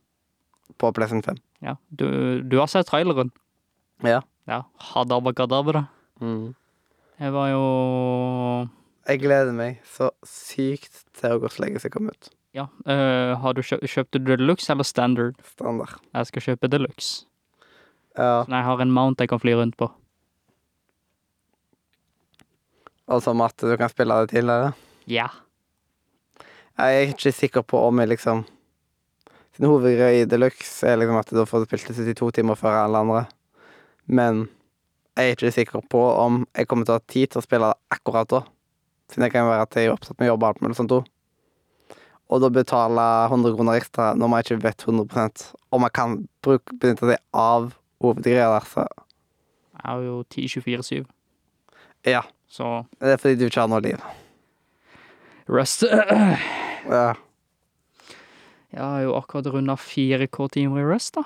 Speaker 1: på PlayStation 5.
Speaker 2: Ja, du, du har sett traileren?
Speaker 1: Ja.
Speaker 2: Ja, Hadabakadabra. da. Jeg var jo
Speaker 1: Jeg gleder meg så sykt til å gå så lenge som jeg kommer ut.
Speaker 2: Ja, eh, har du kjøpt, kjøpte du deluxe eller standard?
Speaker 1: Standard.
Speaker 2: Jeg skal kjøpe deluxe.
Speaker 1: Ja.
Speaker 2: Sånn jeg har en mount jeg kan fly rundt på.
Speaker 1: Og som at du kan spille det tidligere.
Speaker 2: Ja.
Speaker 1: Jeg er ikke sikker på om jeg liksom Sin hovedgreie i Deluxe er liksom at da får du spilt det 72 timer før alle andre. Men jeg er ikke sikker på om jeg kommer til å ha tid til å spille det akkurat da. Siden det kan være at jeg er opptatt med jobb og alt mulig sånt òg. Og da betale 100 kroner ekstra når man ikke vet 100 om man kan bruke, benytte seg av hovedgreia der. Så
Speaker 2: Jeg har jo 10-24-7,
Speaker 1: ja.
Speaker 2: så
Speaker 1: Det er fordi du ikke har noe liv.
Speaker 2: Rust
Speaker 1: Ja.
Speaker 2: Jeg har jo akkurat runda 4K-timer i Rust, da.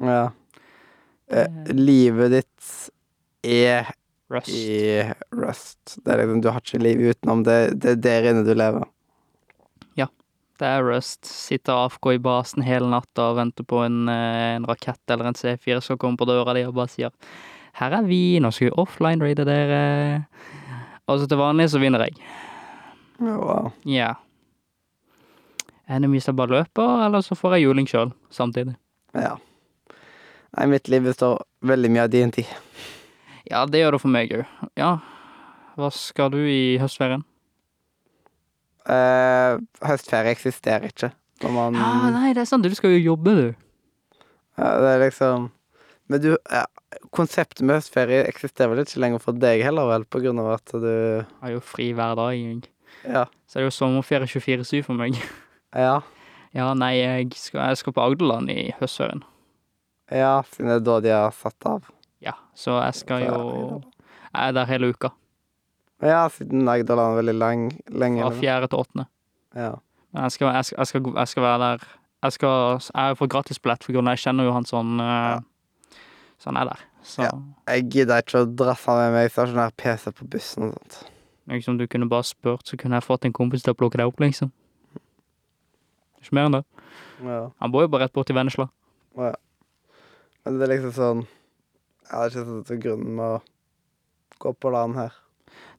Speaker 1: ja. Eh, livet ditt er
Speaker 2: Rust.
Speaker 1: i Rust. Det er liksom, du har ikke liv utenom det. Det er der inne du lever.
Speaker 2: Det er Rust. Sitter AFK i basen hele natta og venter på en, eh, en rakett eller en C4 skal komme på døra di og bare sier 'Her er vi, nå skal vi offline-raide dere'. Og så til vanlig så vinner jeg.
Speaker 1: Wow.
Speaker 2: Ja. Enemies jeg bare løper, eller så får jeg juling sjøl samtidig.
Speaker 1: Ja. Nei, mitt liv består veldig mye av din tid.
Speaker 2: Ja, det gjør det for meg òg. Ja. Hva skal du i høstferien?
Speaker 1: Eh, høstferie eksisterer ikke. Når man
Speaker 2: Ah, nei, det er sant, du skal jo jobbe, du.
Speaker 1: ja, Det er liksom Men du ja, Konseptet med høstferie eksisterer vel ikke lenger for deg heller, vel, på grunn av at du
Speaker 2: Jeg har jo fri hver dag, egentlig.
Speaker 1: Ja.
Speaker 2: Så er det jo sommerferie 24-7 for meg.
Speaker 1: Ja,
Speaker 2: Ja, nei, jeg skal, jeg skal på Agderland i høstferien.
Speaker 1: ja siden det er da de har satt av.
Speaker 2: Ja, så jeg skal
Speaker 1: Ja,
Speaker 2: jo Jeg er der hele uka.
Speaker 1: Ja, siden Agderland er veldig lang, lenge.
Speaker 2: Fra fjerde til åttende.
Speaker 1: Ja.
Speaker 2: Men jeg skal, jeg skal, jeg skal, jeg skal være der Jeg, skal, jeg har fått gratisbillett, for grunn av jeg kjenner jo han sånn eh, Så han er der. Så
Speaker 1: Ja. Jeg gidder ikke å dra sammen med meg stasjonær PC på bussen og sånt.
Speaker 2: liksom, du kunne bare spurt, så kunne jeg fått en kompis til å plukke deg opp, liksom. Ikke mer enn det.
Speaker 1: Ja.
Speaker 2: Han bor jo bare rett borti Vennesla.
Speaker 1: Men det er liksom sånn Jeg hadde ikke sett etter grunnen med å gå på LAN her.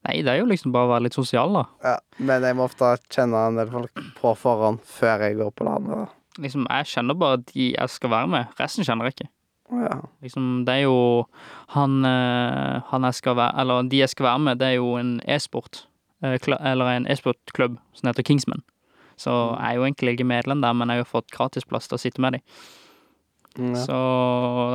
Speaker 2: Nei, det er jo liksom bare å være litt sosial, da.
Speaker 1: Ja, men jeg må ofte kjenne en del folk på forhånd før jeg går på LAN. da.
Speaker 2: Liksom, Jeg kjenner bare de jeg skal være med. Resten kjenner jeg ikke.
Speaker 1: Ja.
Speaker 2: Liksom, det er jo han, eh, han jeg skal være, eller de jeg skal være med, det er jo en e-sport, eh, kla- eller en e-sportklubb som heter Kingsman. Så jeg er jo egentlig ikke medlem der, men jeg har jo fått gratisplass til å sitte med dem.
Speaker 1: Ja.
Speaker 2: Så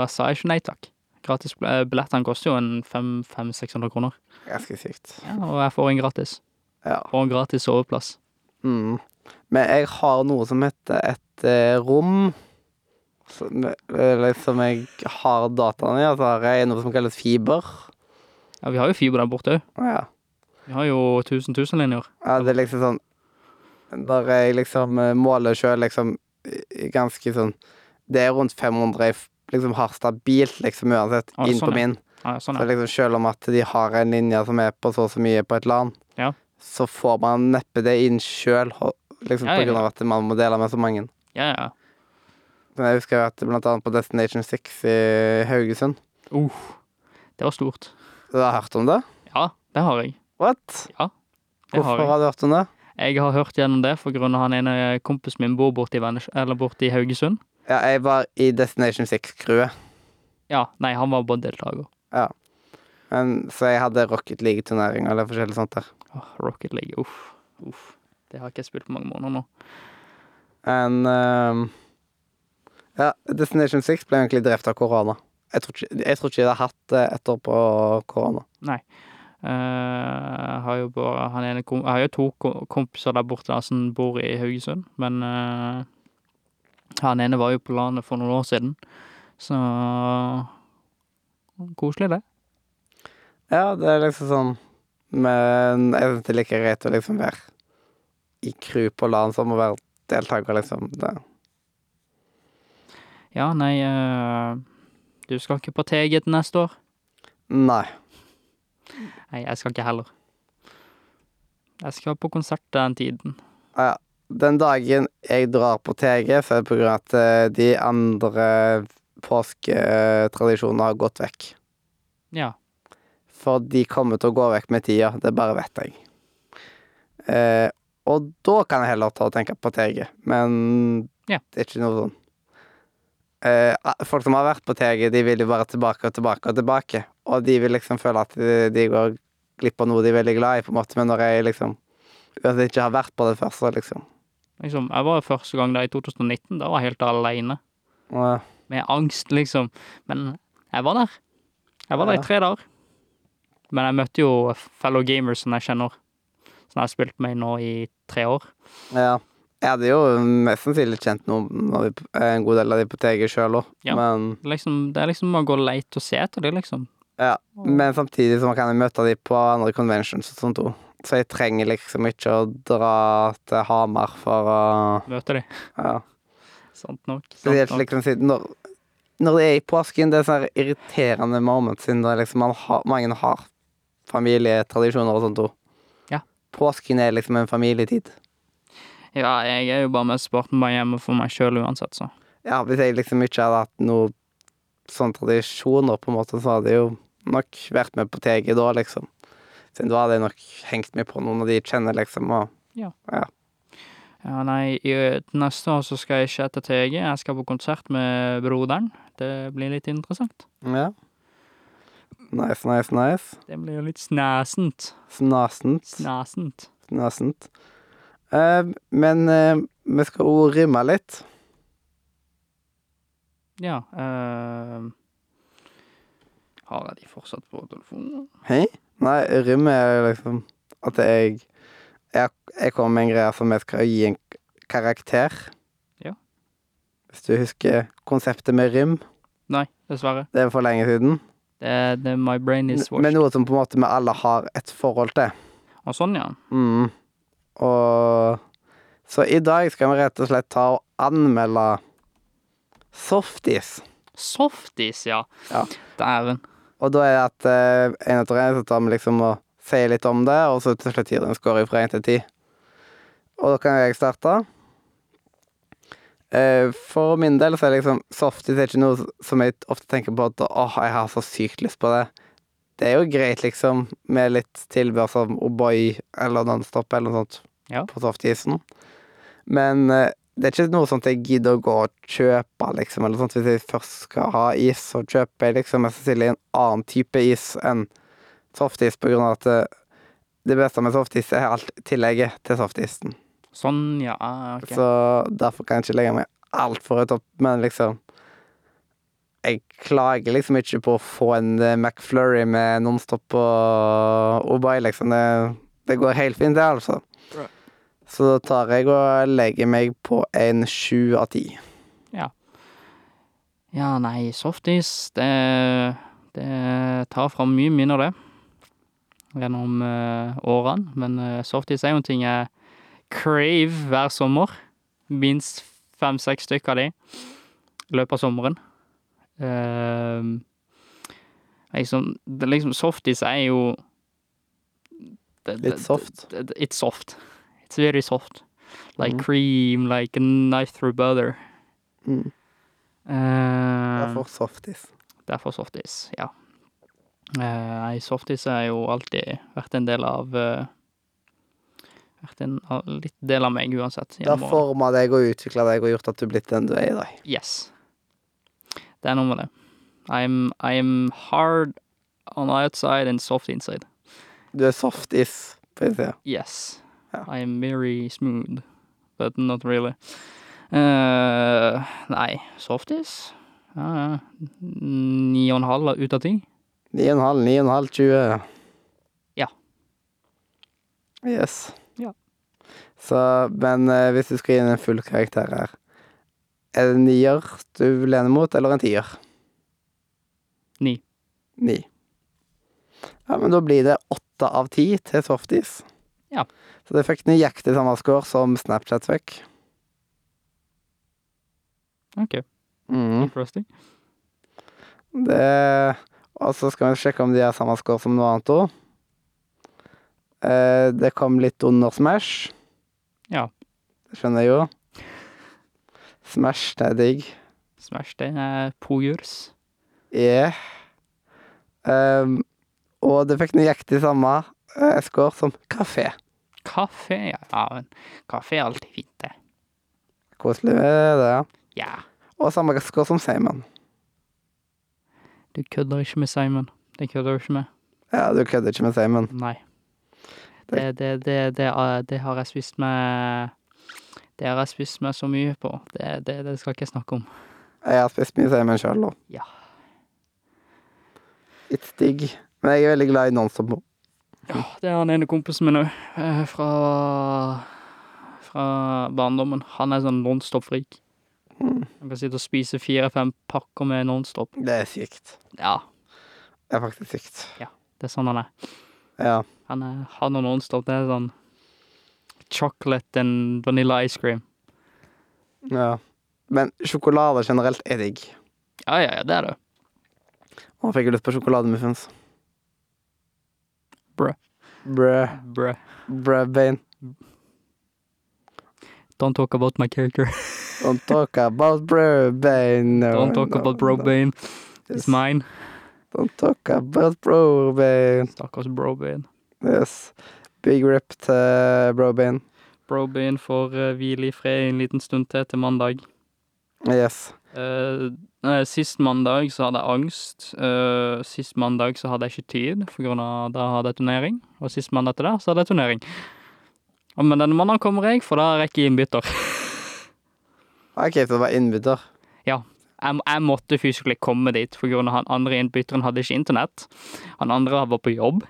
Speaker 2: da sa jeg ikke nei takk. Gratis bl- eh, Billettene koster jo en 500-600 kroner,
Speaker 1: Ganske sykt.
Speaker 2: og jeg får en gratis.
Speaker 1: Ja.
Speaker 2: Får en gratis soveplass.
Speaker 1: Mm. Men jeg har noe som heter et eh, rom. Som, eh, eller som jeg har dataene i. Og så har jeg noe som kalles fiber.
Speaker 2: Ja, vi har jo fiber der borte òg.
Speaker 1: Ja.
Speaker 2: Vi har jo 1000 000 linjer.
Speaker 1: Ja, det er liksom sånn Der jeg liksom eh, måler sjøl liksom i- i ganske sånn Det er rundt 500 jeg f- liksom har stabilt, liksom uansett,
Speaker 2: Ah,
Speaker 1: inn
Speaker 2: sånn,
Speaker 1: på
Speaker 2: ja.
Speaker 1: min.
Speaker 2: Ja, sånn
Speaker 1: Så
Speaker 2: er det.
Speaker 1: liksom selv om at de har en linje som er på så og så mye på et LAN,
Speaker 2: Ja.
Speaker 1: så får man neppe det inn sjøl, liksom
Speaker 2: Ja,
Speaker 1: på
Speaker 2: ja,
Speaker 1: grunn
Speaker 2: ja.
Speaker 1: av at man må dele med så mange.
Speaker 2: Ja, ja.
Speaker 1: Men jeg husker jo at blant annet på Destination 6 i Haugesund
Speaker 2: Det var stort.
Speaker 1: Du har hørt om det?
Speaker 2: Ja, det har jeg.
Speaker 1: What?
Speaker 2: Det har
Speaker 1: Hvorfor
Speaker 2: jeg.
Speaker 1: har du hørt om det?
Speaker 2: Jeg har hørt gjennom det, for grunn av han ene kompisen min bor borte i, Vennes- eller borte i Haugesund.
Speaker 1: Ja, jeg var i Destination 6-crewet.
Speaker 2: Ja, nei, han var bare deltaker.
Speaker 1: Men- Så jeg hadde Rocket League-turnering eller forskjellig sånt der.
Speaker 2: Åh, Rocket League, uff, uff. Det har ikke jeg spilt på mange måneder nå.
Speaker 1: En ehm, Ja, Destination 6 ble egentlig drevet av korona. Jeg tror ikke, jeg tror ikke de har hatt det etterpå korona.
Speaker 2: Eh, Jeg har jo bare han ene kom, Jeg har jo to ko- kompiser der borte da, som bor i Haugesund, men eh, han ene var jo på landet for noen år siden, så Koselig, det.
Speaker 1: Ja, det er liksom sånn Men jeg synes det er like greit å liksom være i crew på LAN som å være deltaker, liksom. Det.
Speaker 2: Ja, nei eh, Du skal ikke på TG til neste år?
Speaker 1: Nei.
Speaker 2: Nei, jeg skal ikke heller. Jeg skal på konsert den tiden.
Speaker 1: Den dagen jeg drar på TG, så er det på grunn av at eh, de andre påsketradisjonene har gått vekk.
Speaker 2: Ja.
Speaker 1: For de kommer til å gå vekk med tida, det bare vet jeg. Eh, og da kan jeg heller ta og tenke på TG, men
Speaker 2: Ja.
Speaker 1: det er ikke noe sånn eh, a- Folk som har vært på TG, de vil jo bare tilbake og tilbake og tilbake. Og de vil liksom føle at de, de går glipp av noe de er veldig glad i, på en måte, men når jeg liksom uansett ikke har vært på det først, så liksom
Speaker 2: Liksom, jeg var første gang der i 2019. Da var jeg helt aleine.
Speaker 1: Åh,
Speaker 2: Med angst, liksom. Men jeg var der. Jeg var der
Speaker 1: Ja.
Speaker 2: i tre dager. Men jeg møtte jo fellow gamers som jeg kjenner. Som jeg har spilt med nå i tre år.
Speaker 1: Ja. Jeg hadde jo mest sannsynlig kjent noen av de, en god del av de på TG sjøl òg,
Speaker 2: Ja.
Speaker 1: men
Speaker 2: Liksom, det er liksom å gå leit og se etter dem, liksom.
Speaker 1: Ja,
Speaker 2: Og-
Speaker 1: men samtidig så kan jeg møte de på andre conventions og sånt også. Så jeg trenger liksom ikke å dra til Hamar for å
Speaker 2: Møte dem.
Speaker 1: Ja.
Speaker 2: Sant nok.
Speaker 1: Så det er
Speaker 2: Sant
Speaker 1: helt
Speaker 2: nok.
Speaker 1: liksom siden når, når det er i påsken, det er sånn her irriterende moment siden det er liksom man har, mange har familietradisjoner og sånt også.
Speaker 2: Ja.
Speaker 1: Påsken er liksom en familietid.
Speaker 2: Ja, jeg er jo bare mest sporten bare hjemme for meg sjøl uansett, så.
Speaker 1: Ja, hvis jeg liksom ikke hadde hatt noe sånn tradisjoner, på en måte, så hadde jeg jo nok vært med på TG da, liksom. Siden da hadde jeg nok hengt meg på noen av de jeg kjenner, liksom. og
Speaker 2: Ja, nei, i, til neste år så skal jeg ikke etter TG. Jeg skal på konsert med broderen. Det blir litt interessant.
Speaker 1: Ja. Nice, nice, nice.
Speaker 2: Det blir jo litt snæsent.
Speaker 1: Snasent.
Speaker 2: Snæsent.
Speaker 1: Snasent. Eh, men eh, vi skal jo rimme litt.
Speaker 2: Ja. eh, har jeg de fortsatt på telefonen?
Speaker 1: Hei? Nei, rim er liksom at jeg Jeg, jeg kommer med en greie som jeg skal gi en k- karakter.
Speaker 2: Ja.
Speaker 1: Hvis du husker konseptet med rim.
Speaker 2: Nei, dessverre.
Speaker 1: Det er for lenge siden.
Speaker 2: Det er det My Brain Is
Speaker 1: Men
Speaker 2: Washed.
Speaker 1: noe som på en måte vi alle har et forhold til.
Speaker 2: Og sånn, ja.
Speaker 1: Mm. Og Så i dag skal vi rett og slett ta og anmelde softis.
Speaker 2: Softis, ja.
Speaker 1: Ja.
Speaker 2: Dæven.
Speaker 1: Og da er det at eh, en etter en så tar vi liksom og sier litt om det, og så til slutt gir det en score fra 1 til 10. Og da kan jeg starte. Eh, for min del så er det liksom softis er ikke noe som jeg ofte tenker på at åh, jeg har så sykt lyst på det. Det er jo greit, liksom, med litt tilbehør som O'boy eller Nonstop eller noe sånt
Speaker 2: Ja.
Speaker 1: på softisen. Men eh, det er ikke noe sånt jeg gidder å gå og kjøpe, liksom. Eller sånt. Hvis jeg først skal ha is, så kjøper jeg liksom mest sannsynlig en annen type is enn softis, på grunn av at det, det beste med softis er alt tillegget til softisen.
Speaker 2: Sånn, ja. ah, ok.
Speaker 1: Så derfor kan jeg ikke legge meg altfor høyt opp, men liksom Jeg klager liksom ikke på å få en eh, McFlurry med Nonstop og Obay, liksom. Det, det går helt fint, det, altså.
Speaker 2: Right.
Speaker 1: Så da tar jeg og legger meg på en sju av ti.
Speaker 2: Ja, nei, softis, det, det tar fram mye mindre det gjennom eh, årene. Men eh, softis er jo en ting jeg crave hver sommer. Minst fem-seks stykker av de i løpet av sommeren. Eh, liksom, det, liksom, softis er jo det-
Speaker 1: Litt
Speaker 2: det-
Speaker 1: soft.
Speaker 2: det- det- It's soft. It's very soft. Like
Speaker 1: Mhm.
Speaker 2: cream, like a knife through butter.
Speaker 1: Mm. Jeg
Speaker 2: Uh,
Speaker 1: får softis.
Speaker 2: Derfor softis, ja. Eh, Nei, softis har jo alltid vært en del av eh, Vært en av- litt del av meg uansett.
Speaker 1: Det har
Speaker 2: gjennom årene.
Speaker 1: forma deg og utvikla deg og gjort at du er blitt den du er i dag.
Speaker 2: Yes. Det er noe med det. I'm, I'm hard on the outside and soft inside.
Speaker 1: Du er softis. på innsida.
Speaker 2: Yes.
Speaker 1: Ja.
Speaker 2: I'm very smooth, but not really. Eh, nei, softis? Ja, ja. Ni og en halv ut av ti?
Speaker 1: 9,5, 9,5, 20.
Speaker 2: Ja.
Speaker 1: Yes.
Speaker 2: Ja.
Speaker 1: Så, men eh, hvis du skal gi den en full karakter her, er det en nier du lener mot, eller en tier?
Speaker 2: Ni.
Speaker 1: Ni. Ja, men da blir det åtte av ti til softis.
Speaker 2: Ja.
Speaker 1: Så det fikk nøyaktig samme score som Snapchat fikk.
Speaker 2: OK,
Speaker 1: Mm.
Speaker 2: interesting.
Speaker 1: Det Og så skal vi sjekke om de har samme score som noe annet òg. Eh, det kom litt under Smash.
Speaker 2: Ja.
Speaker 1: Det skjønner jeg jo. Smash, det er digg.
Speaker 2: Smash, det eh, er pojurs.
Speaker 1: Yeah. Um, og det fikk nøyaktig samme eh, score som kafé.
Speaker 2: Kaffe, ja. ja men kaffe er alltid fint, det.
Speaker 1: Koselig med det. ja.
Speaker 2: Ja.
Speaker 1: Og samme score som Simon.
Speaker 2: Du kødder ikke med Simon. Det kødder du ikke med.
Speaker 1: Ja, du kødder ikke med Simon.
Speaker 2: Nei. Det, det, det, det, ah, det har jeg spist med Det har jeg spist med så mye på. Det, det, det skal ikke jeg snakke om.
Speaker 1: Jeg har spist mye Simon sjøl, da.
Speaker 2: Ja.
Speaker 1: It's digg. Men jeg er veldig glad i Nonstop.
Speaker 2: Ja, det er han ene kompisen min òg. Fra, fra barndommen. Han er sånn nonstop-frik.
Speaker 1: Mm.
Speaker 2: Han kan sitte og spise fire-fem pakker med nonstop.
Speaker 1: Det er sykt.
Speaker 2: Ja,
Speaker 1: Det er faktisk sykt.
Speaker 2: det er sånn han er.
Speaker 1: Ja.
Speaker 2: Han, er, han og Nonstop, det er sånn chocolate and vanilla ice cream.
Speaker 1: Ja. Men sjokolade generelt er digg.
Speaker 2: Ja, ja, ja, det er det.
Speaker 1: Og fikk jeg lyst på sjokolademuffins.
Speaker 2: Brø.
Speaker 1: Brø.
Speaker 2: Bruh.
Speaker 1: Brødbein.
Speaker 2: Don't talk about my character.
Speaker 1: Don't talk about brødbein. No,
Speaker 2: Don't talk
Speaker 1: no,
Speaker 2: about bro
Speaker 1: no.
Speaker 2: Bane.
Speaker 1: Yes.
Speaker 2: It's mine.
Speaker 1: Don't talk about brødbein.
Speaker 2: Stakkars bro Bane.
Speaker 1: Yes. Big rip til brødbein.
Speaker 2: Bro Bane får eh, hvile i fred en liten stund til, til mandag.
Speaker 1: Yes.
Speaker 2: Eh, nei, sist mandag så hadde jeg angst. Eh, sist mandag så hadde jeg ikke tid, for grunn av da hadde jeg turnering. Og sist mandag etter det, så hadde jeg turnering. Og, men denne mandagen kommer jeg, for da rekker jeg innbytter.
Speaker 1: OK, så det var innbytter.
Speaker 2: jeg, jeg måtte fysisk komme dit, for grunn av han andre innbytteren hadde ikke internett. Han andre var på jobb,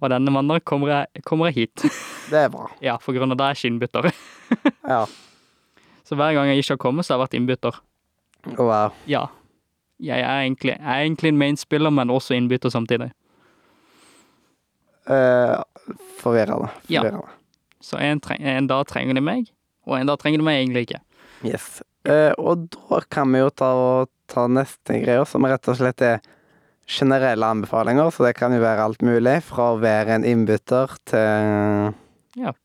Speaker 2: og denne mannen kommer jeg, kommer jeg hit.
Speaker 1: Det er bra.
Speaker 2: Ja, for grunn av det er jeg ikke innbytter.
Speaker 1: Ja.
Speaker 2: Så hver gang jeg ikke har kommet, så har jeg vært innbytter.
Speaker 1: Wow.
Speaker 2: Ja. Jeg er egentlig, jeg er egentlig en mainspiller, men også innbytter samtidig.
Speaker 1: Eh, forvirrende.
Speaker 2: Ja.
Speaker 1: Forvirrende.
Speaker 2: Så en, treng, en dag trenger de meg, og en dag trenger de meg egentlig ikke.
Speaker 1: Yes. Eh, og da kan vi jo ta, og ta neste greia, som rett og slett er generelle anbefalinger. Så det kan jo være alt mulig, fra å være en innbytter til
Speaker 2: Ja.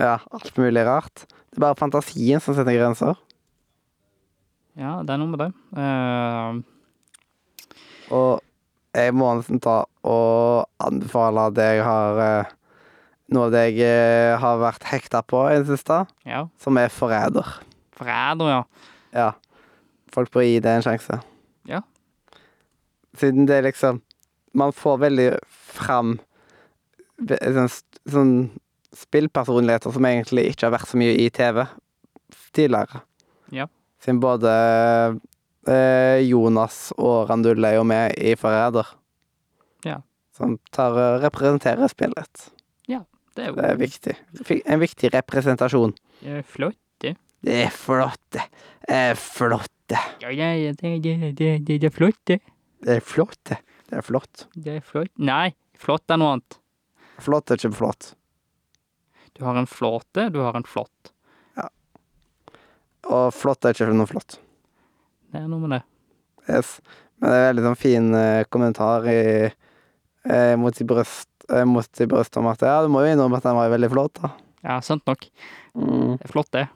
Speaker 1: Ja, alt mulig rart. Det er bare fantasien som setter grenser.
Speaker 2: Ja, det er noe med det. Eh,
Speaker 1: Og jeg må nesten ta og anbefale det jeg har eh, noe av det jeg eh, har vært hekta på i det siste,
Speaker 2: Ja.
Speaker 1: som er forræder.
Speaker 2: Forræder, ja.
Speaker 1: Ja. Folk bør gi det en sjanse.
Speaker 2: Ja.
Speaker 1: Siden det er liksom Man får veldig fram ve- sånn, st- sånn spillpersonligheter som egentlig ikke har vært så mye i TV tidligere.
Speaker 2: Ja.
Speaker 1: Siden både eh, Jonas og Randul er jo med i Forræder.
Speaker 2: Ja.
Speaker 1: Som tar, og representerer spillet.
Speaker 2: Det er jo
Speaker 1: Det er viktig. Fi- En viktig representasjon.
Speaker 2: eh, flott.
Speaker 1: Det er flott, det. Det er flott, det.
Speaker 2: Ja, ja, ja, det, det, det, det, det er flott, det.
Speaker 1: Det er flott, det. Det er flott.
Speaker 2: Det er flott. Nei, flott er noe annet.
Speaker 1: Flott er ikke flott.
Speaker 2: Du har en flåte, du har en flått.
Speaker 1: Og flott er ikke noe flott.
Speaker 2: Det er noe med det.
Speaker 1: Yes. Men det er veldig sånn fin eh, kommentar i, eh, mot i brøst, eh, mot i brøst om at ja, du må jo innrømme at den var jo veldig flott, da.
Speaker 2: Ja, sant nok.
Speaker 1: Mm.
Speaker 2: Det er flott, det.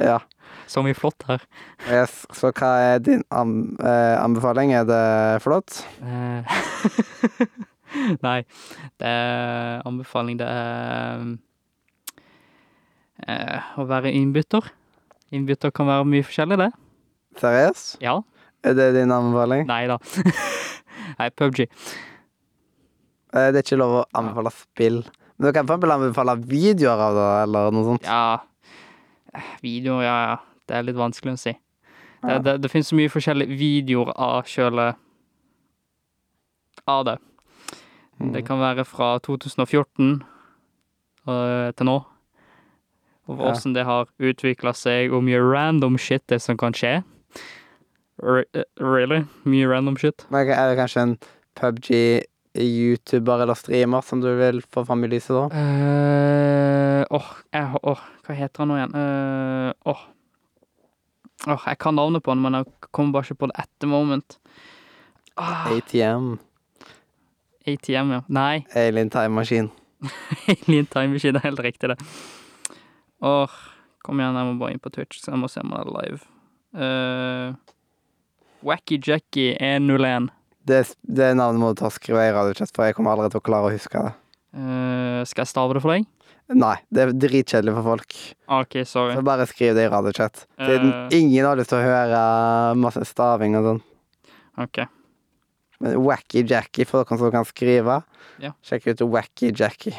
Speaker 1: Ja.
Speaker 2: Så mye flott her.
Speaker 1: Yes. Så hva er din am, eh, anbefaling? Er det flott?
Speaker 2: Eh, Nei, det er anbefaling. Det er um, eh, å være innbytter. Innbytter kan være mye forskjellig, det.
Speaker 1: Seriøst?
Speaker 2: Ja.
Speaker 1: Er det din anbefaling?
Speaker 2: Nei da. Nei, PubG.
Speaker 1: Eh, det er ikke lov å anbefale spill. Men du kan for eksempel anbefale videoer av det, eller noe sånt.
Speaker 2: Ja eh, Videoer, ja, ja. Det er litt vanskelig å si. Det,
Speaker 1: Ja.
Speaker 2: det, det finnes så mye forskjellige videoer av sjøle Av det.
Speaker 1: Mm.
Speaker 2: Det kan være fra 2014 øh, til nå. Og
Speaker 1: Ja.
Speaker 2: hvordan det har utvikla seg, og mye random shit det som kan skje. Re eh, really? Mye random shit.
Speaker 1: Men er det kanskje en PubG-youtuber eller streamer som du vil få fram i lyset, da?
Speaker 2: Eh, Åh, jeg har- åh, hva heter han nå igjen? Eh, Åh, Åh, Jeg kan navnet på han, men jeg kommer bare ikke på det at the moment. Ah,
Speaker 1: ATM.
Speaker 2: ATM, ja. Nei,
Speaker 1: Alien Time Machine.
Speaker 2: Alien Time Machine er helt riktig, det. Åh, kom igjen, jeg må bare inn på Twitch, så jeg må se om han er live. Eh, Wacky Jackie E 101.
Speaker 1: Det, det navnet må du ta og skrive i radiochat, for jeg kommer aldri til å klare å huske det.
Speaker 2: Eh, skal jeg stave det for deg? Ah,
Speaker 1: Nei, det er dritkjedelig for folk.
Speaker 2: OK, sorry.
Speaker 1: Så bare skriv det i radiochat. Siden
Speaker 2: Eh.
Speaker 1: ingen har lyst til å høre masse staving og sånn.
Speaker 2: Ok.
Speaker 1: Men Wacky Jackie, for dere som kan skrive,
Speaker 2: Ja.
Speaker 1: sjekk ut Wacky Jackie.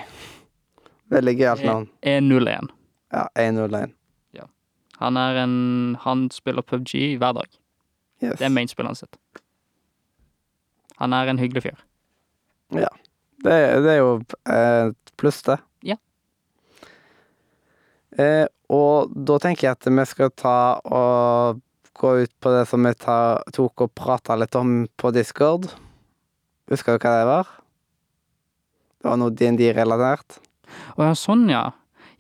Speaker 1: Veldig gøyalt
Speaker 2: Eh.
Speaker 1: navn.
Speaker 2: 101.
Speaker 1: Ja, 101.
Speaker 2: Han er en Han spiller PubG hver dag.
Speaker 1: Yes.
Speaker 2: Det er mainspilleren sitt. Han er en hyggelig fyr.
Speaker 1: Det, det er jo eh, et pluss, det.
Speaker 2: Ja.
Speaker 1: Eh, og da tenker jeg at vi skal ta og gå ut på det som vi ta, tok og prata litt om på Discord. Husker du hva det var? Det var noe DND-relatert.
Speaker 2: Å ja, sånn, ja.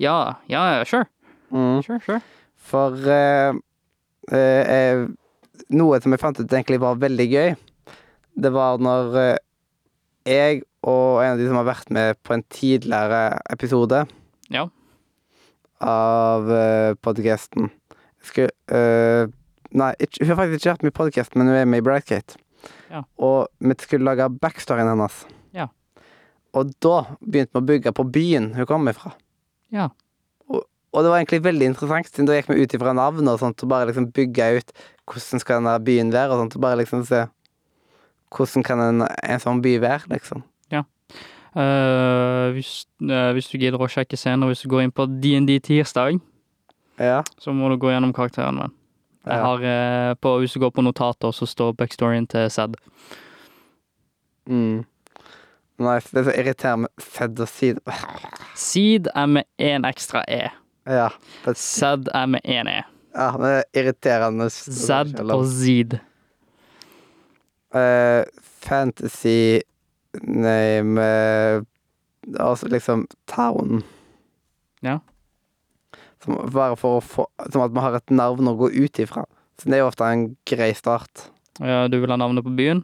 Speaker 2: Ja, ja, ja, sure.
Speaker 1: Mm.
Speaker 2: Sure, sure.
Speaker 1: For eh, eh, eh, noe som jeg fant ut egentlig var veldig gøy, det var når eh, jeg og en av de som har vært med på en tidligere episode
Speaker 2: Ja.
Speaker 1: av eh, podkasten Skulle eh, Nei, ikke, hun har faktisk ikke vært med i podkasten, men hun er med i Brightgate.
Speaker 2: Ja.
Speaker 1: Og vi skulle lage backstoryen hennes.
Speaker 2: Ja.
Speaker 1: Og da begynte vi å bygge på byen hun kom ifra.
Speaker 2: Ja.
Speaker 1: Og det var egentlig veldig interessant, siden da gikk vi ut ifra navn og sånt, og bare liksom bygga ut hvordan skal denne byen være, og sånt, og bare liksom se hvordan kan en, en sånn by være, liksom.
Speaker 2: Eh, hvis, eh, hvis du gidder å sjekke senere, hvis du går inn på D&D tirsdag,
Speaker 1: Ja.
Speaker 2: så må du gå gjennom karakteren min. Jeg
Speaker 1: Ja.
Speaker 2: har, eh, på, hvis du går på notater, så står backstoryen til Zed.
Speaker 1: Mm. Nice. Det er så irriterende med sedd og side.
Speaker 2: Seed er med én ekstra E.
Speaker 1: Ja. Det,
Speaker 2: Zed er med én E.
Speaker 1: ja, men det er irriterende.
Speaker 2: Zed og Zed.
Speaker 1: Eh, Fantasy name eh, Altså liksom town.
Speaker 2: Ja.
Speaker 1: Som, bare for å få Som at man har et navn å gå ut ifra. Så det er jo ofte en grei start.
Speaker 2: Ja, du vil ha navnet på byen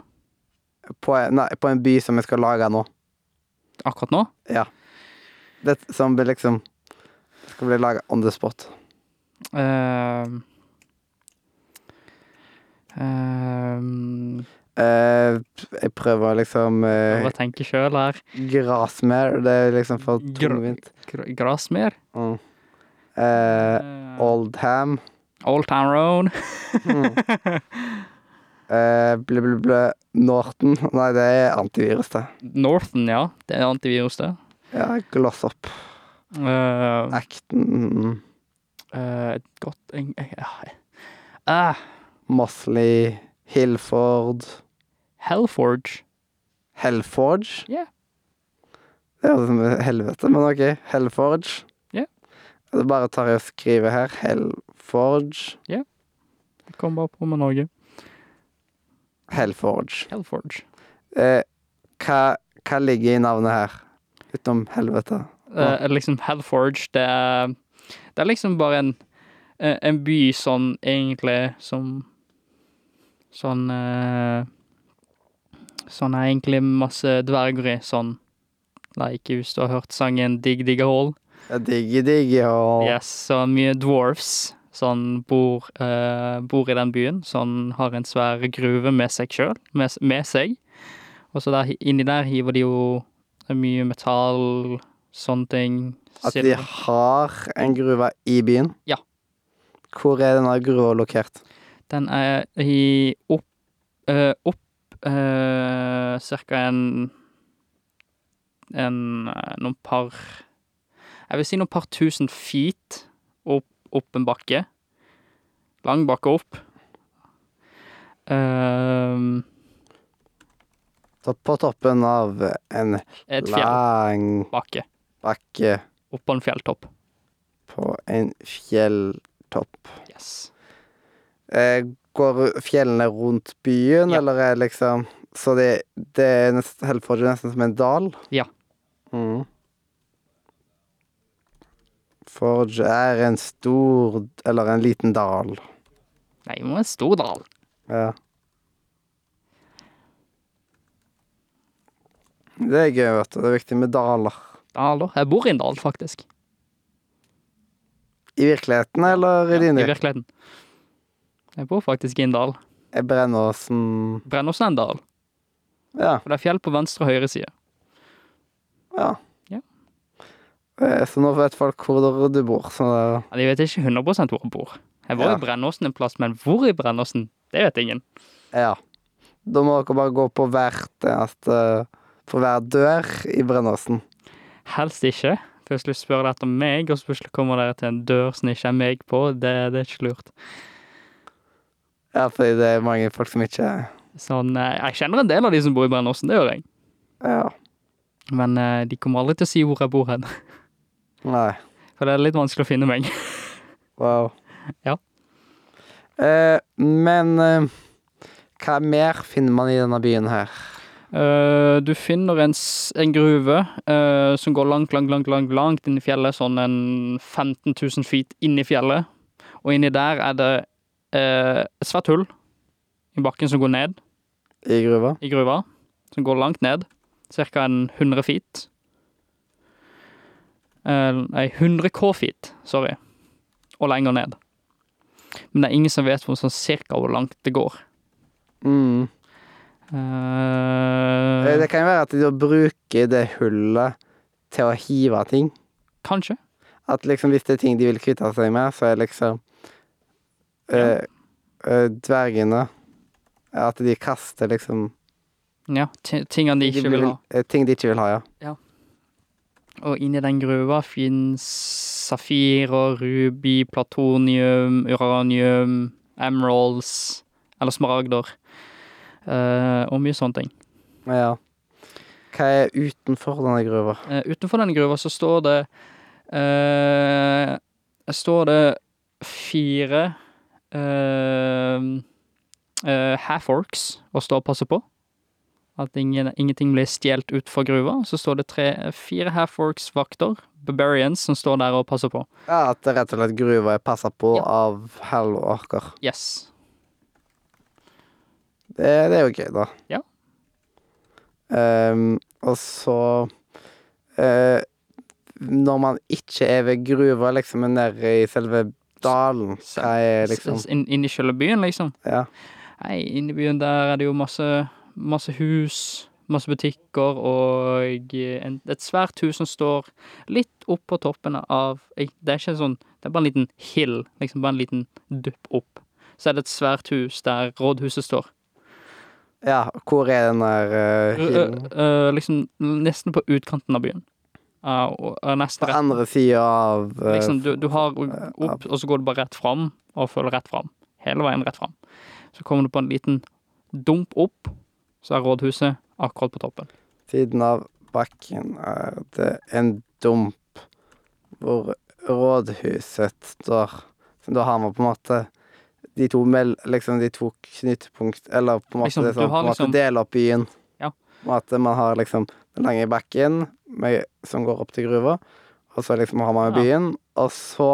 Speaker 1: På, en- nei, på en by som vi skal lage nå.
Speaker 2: akkurat nå?
Speaker 1: Det som blir liksom Skal bli laga on the spot.
Speaker 2: Eh, eh,
Speaker 1: Eh, jeg prøver liksom eh,
Speaker 2: Prøver å tenke sjøl her.
Speaker 1: Grasmere. Det er liksom for
Speaker 2: Gr-
Speaker 1: tungvint.
Speaker 2: Gr- Grasmere.
Speaker 1: Mm. Eh,
Speaker 2: Eh,
Speaker 1: Oldham.
Speaker 2: Old Town Road.
Speaker 1: Mm. Eh, ble, ble, ble. Norton. Nei, det er antivirus, det.
Speaker 2: Northern, ja. Det er antivirus, det.
Speaker 1: Ja, Glossop.
Speaker 2: Eh,
Speaker 1: Acton. Mm.
Speaker 2: eh, et godt en, ja. Ah,
Speaker 1: Mosley. Hillford.
Speaker 2: Hellforge.
Speaker 1: Hellforge.
Speaker 2: Ja.
Speaker 1: Det høres ut som helvete, men OK. Hellforge.
Speaker 2: Ja.
Speaker 1: Da bare tar jeg og skriver her. Hellforge.
Speaker 2: Jeg kom bare på med Norge.
Speaker 1: Hellforge.
Speaker 2: Hellforge.
Speaker 1: Eh, hva, hva ligger i navnet her? Utenom helvete.
Speaker 2: Eh, liksom Hellforge, det er, det er liksom bare en, eh, en by sånn egentlig som Sånn eh, Sånn er egentlig masse dverger i, sånn like hvis du har hørt sangen Dig Digga Hall.
Speaker 1: Digge, digge og
Speaker 2: Yes, så mye dwarfs sånn bor, eh, bor i den byen. Sånn har en svær gruve med seg sjøl, med, s- med seg. Og så der, inni der hiver de jo mye metall, sånne ting.
Speaker 1: At de
Speaker 2: silver.
Speaker 1: har en gruve i byen?
Speaker 2: Ja.
Speaker 1: Hvor er denne gruva lokert?
Speaker 2: Den er i opp eh, Opp eh, cirka en en eh, noen par Jeg vil si noen par tusen feet opp, opp en bakke. Lang bakke opp. Ehm,
Speaker 1: Så På toppen av en
Speaker 2: et fjell
Speaker 1: lang
Speaker 2: bakke.
Speaker 1: bakke
Speaker 2: Oppå en fjelltopp.
Speaker 1: på en fjelltopp.
Speaker 2: Yes.
Speaker 1: Eh, Går fjellene rundt byen,
Speaker 2: Ja.
Speaker 1: eller er liksom Så det, det er nesten, Hellforge er nesten som en dal?
Speaker 2: Ja.
Speaker 1: Mm. Forge er en stor Eller en liten dal.
Speaker 2: Nei, det var en stor dal.
Speaker 1: Ja. Det er gøy, vet du. Det er viktig med daler.
Speaker 2: Daler. Jeg bor i en dal, faktisk.
Speaker 1: I virkeligheten eller i
Speaker 2: I
Speaker 1: dine?
Speaker 2: virkeligheten. Jeg bor faktisk i en dal.
Speaker 1: Jeg brenner som
Speaker 2: Brennåsen er en dal.
Speaker 1: Ja.
Speaker 2: For det er fjell på venstre og høyre side.
Speaker 1: ja.
Speaker 2: Ja.
Speaker 1: Eh, Så nå vet folk hvor du bor. Så det,
Speaker 2: Ja, De vet ikke 100 hvor han bor. Jeg var
Speaker 1: Ja.
Speaker 2: i Brennåsen en plass, men hvor i Brennåsen? Det vet ingen.
Speaker 1: ja. Da må dere bare gå på hvert eneste På hver dør i Brennåsen.
Speaker 2: Helst ikke. Plutselig spør de etter meg, og så plutselig kommer dere til en dør som ikke er meg på. Det, det er ikke lurt.
Speaker 1: Ja, fordi det er mange folk som ikke
Speaker 2: Sånn, eh, Jeg kjenner en del av de som bor i Brennåsen, det gjør jeg.
Speaker 1: Ja.
Speaker 2: Men eh, de kommer aldri til å si hvor jeg bor hen.
Speaker 1: Nei.
Speaker 2: For det er litt vanskelig å finne meg.
Speaker 1: Wow.
Speaker 2: Ja.
Speaker 1: Eh, men eh, hva mer finner man i denne byen her?
Speaker 2: Eh, du finner en, s- en gruve eh, som går langt, langt, langt, langt, langt inn i fjellet. Sånn en 15 000 feet inn i fjellet. Og inni der er det eh, et svært hull i bakken som går ned.
Speaker 1: I gruva?
Speaker 2: i gruva, som går langt ned, ca. en 100 feet. Eh, nei, 100 K-feet, sorry, og lenger ned. Men det er ingen som vet hvor sånn cirka hvor langt det går.
Speaker 1: Mm. Eh,
Speaker 2: Eh,
Speaker 1: Det kan jo være at de da bruker det hullet til å hive ting.
Speaker 2: Kanskje.
Speaker 1: At liksom hvis det er ting de vil kvitte seg med, så er liksom eh, eh, Dvergene At de kaster liksom
Speaker 2: Ja, ti- tingene de ikke vil ha.
Speaker 1: eh, ting de ikke vil ha, ja.
Speaker 2: Og inni den gruva fins safirer, ruby, platonium, uranium, emeralds, eller smaragder, eh, og mye sånne ting.
Speaker 1: ja. Hva er utenfor denne gruva?
Speaker 2: Eh, utenfor denne gruva så står det eh, Står det fire uh, eh, half-orcs og står og passer på. At ingen, ingenting blir stjålet utfor gruva. Så står det tre, fire half-orcs-vakter, barbarians, som står der og passer på.
Speaker 1: Ja, At det rett og slett gruva er passa på
Speaker 2: Ja.
Speaker 1: av halvorker.
Speaker 2: Yes.
Speaker 1: Det, det er jo gøy, da.
Speaker 2: Ja.
Speaker 1: Ehm, og så eh, Når man ikke er ved gruva, liksom, men nede i selve dalen, hva er liksom
Speaker 2: Inn, inn i selve byen, liksom.
Speaker 1: Ja.
Speaker 2: Nei, inne i byen der er det jo masse, masse hus, masse butikker og eh, en, et svært hus som står litt opp på toppen av ei- Det er ikke en sånn, det er bare en liten hill, liksom bare en liten dupp opp. Så er det et svært hus der rådhuset står.
Speaker 1: Ja, hvor er den der eh,
Speaker 2: Ø- ø-
Speaker 1: kilden?
Speaker 2: ø, liksom nesten på utkanten av byen. Ja, og, og nesten
Speaker 1: På
Speaker 2: rett.
Speaker 1: andre sida av eh,
Speaker 2: Liksom, du, du har opp, og så går du bare rett fram, og følger rett fram. Hele veien rett fram. Så kommer du på en liten dump opp, så er rådhuset akkurat på toppen.
Speaker 1: Siden av bakken er det en dump hvor rådhuset står. Så da har man på en måte de to, mel liksom de to knutepunkt Eller på en måte,
Speaker 2: Liksom,
Speaker 1: det er
Speaker 2: du
Speaker 1: sånn,
Speaker 2: har
Speaker 1: på en måte
Speaker 2: liksom-
Speaker 1: dele opp byen.
Speaker 2: Ja.
Speaker 1: Og at man har liksom den lange bakken med, som går opp til gruva, og så liksom har man
Speaker 2: Ja.
Speaker 1: byen. Og så,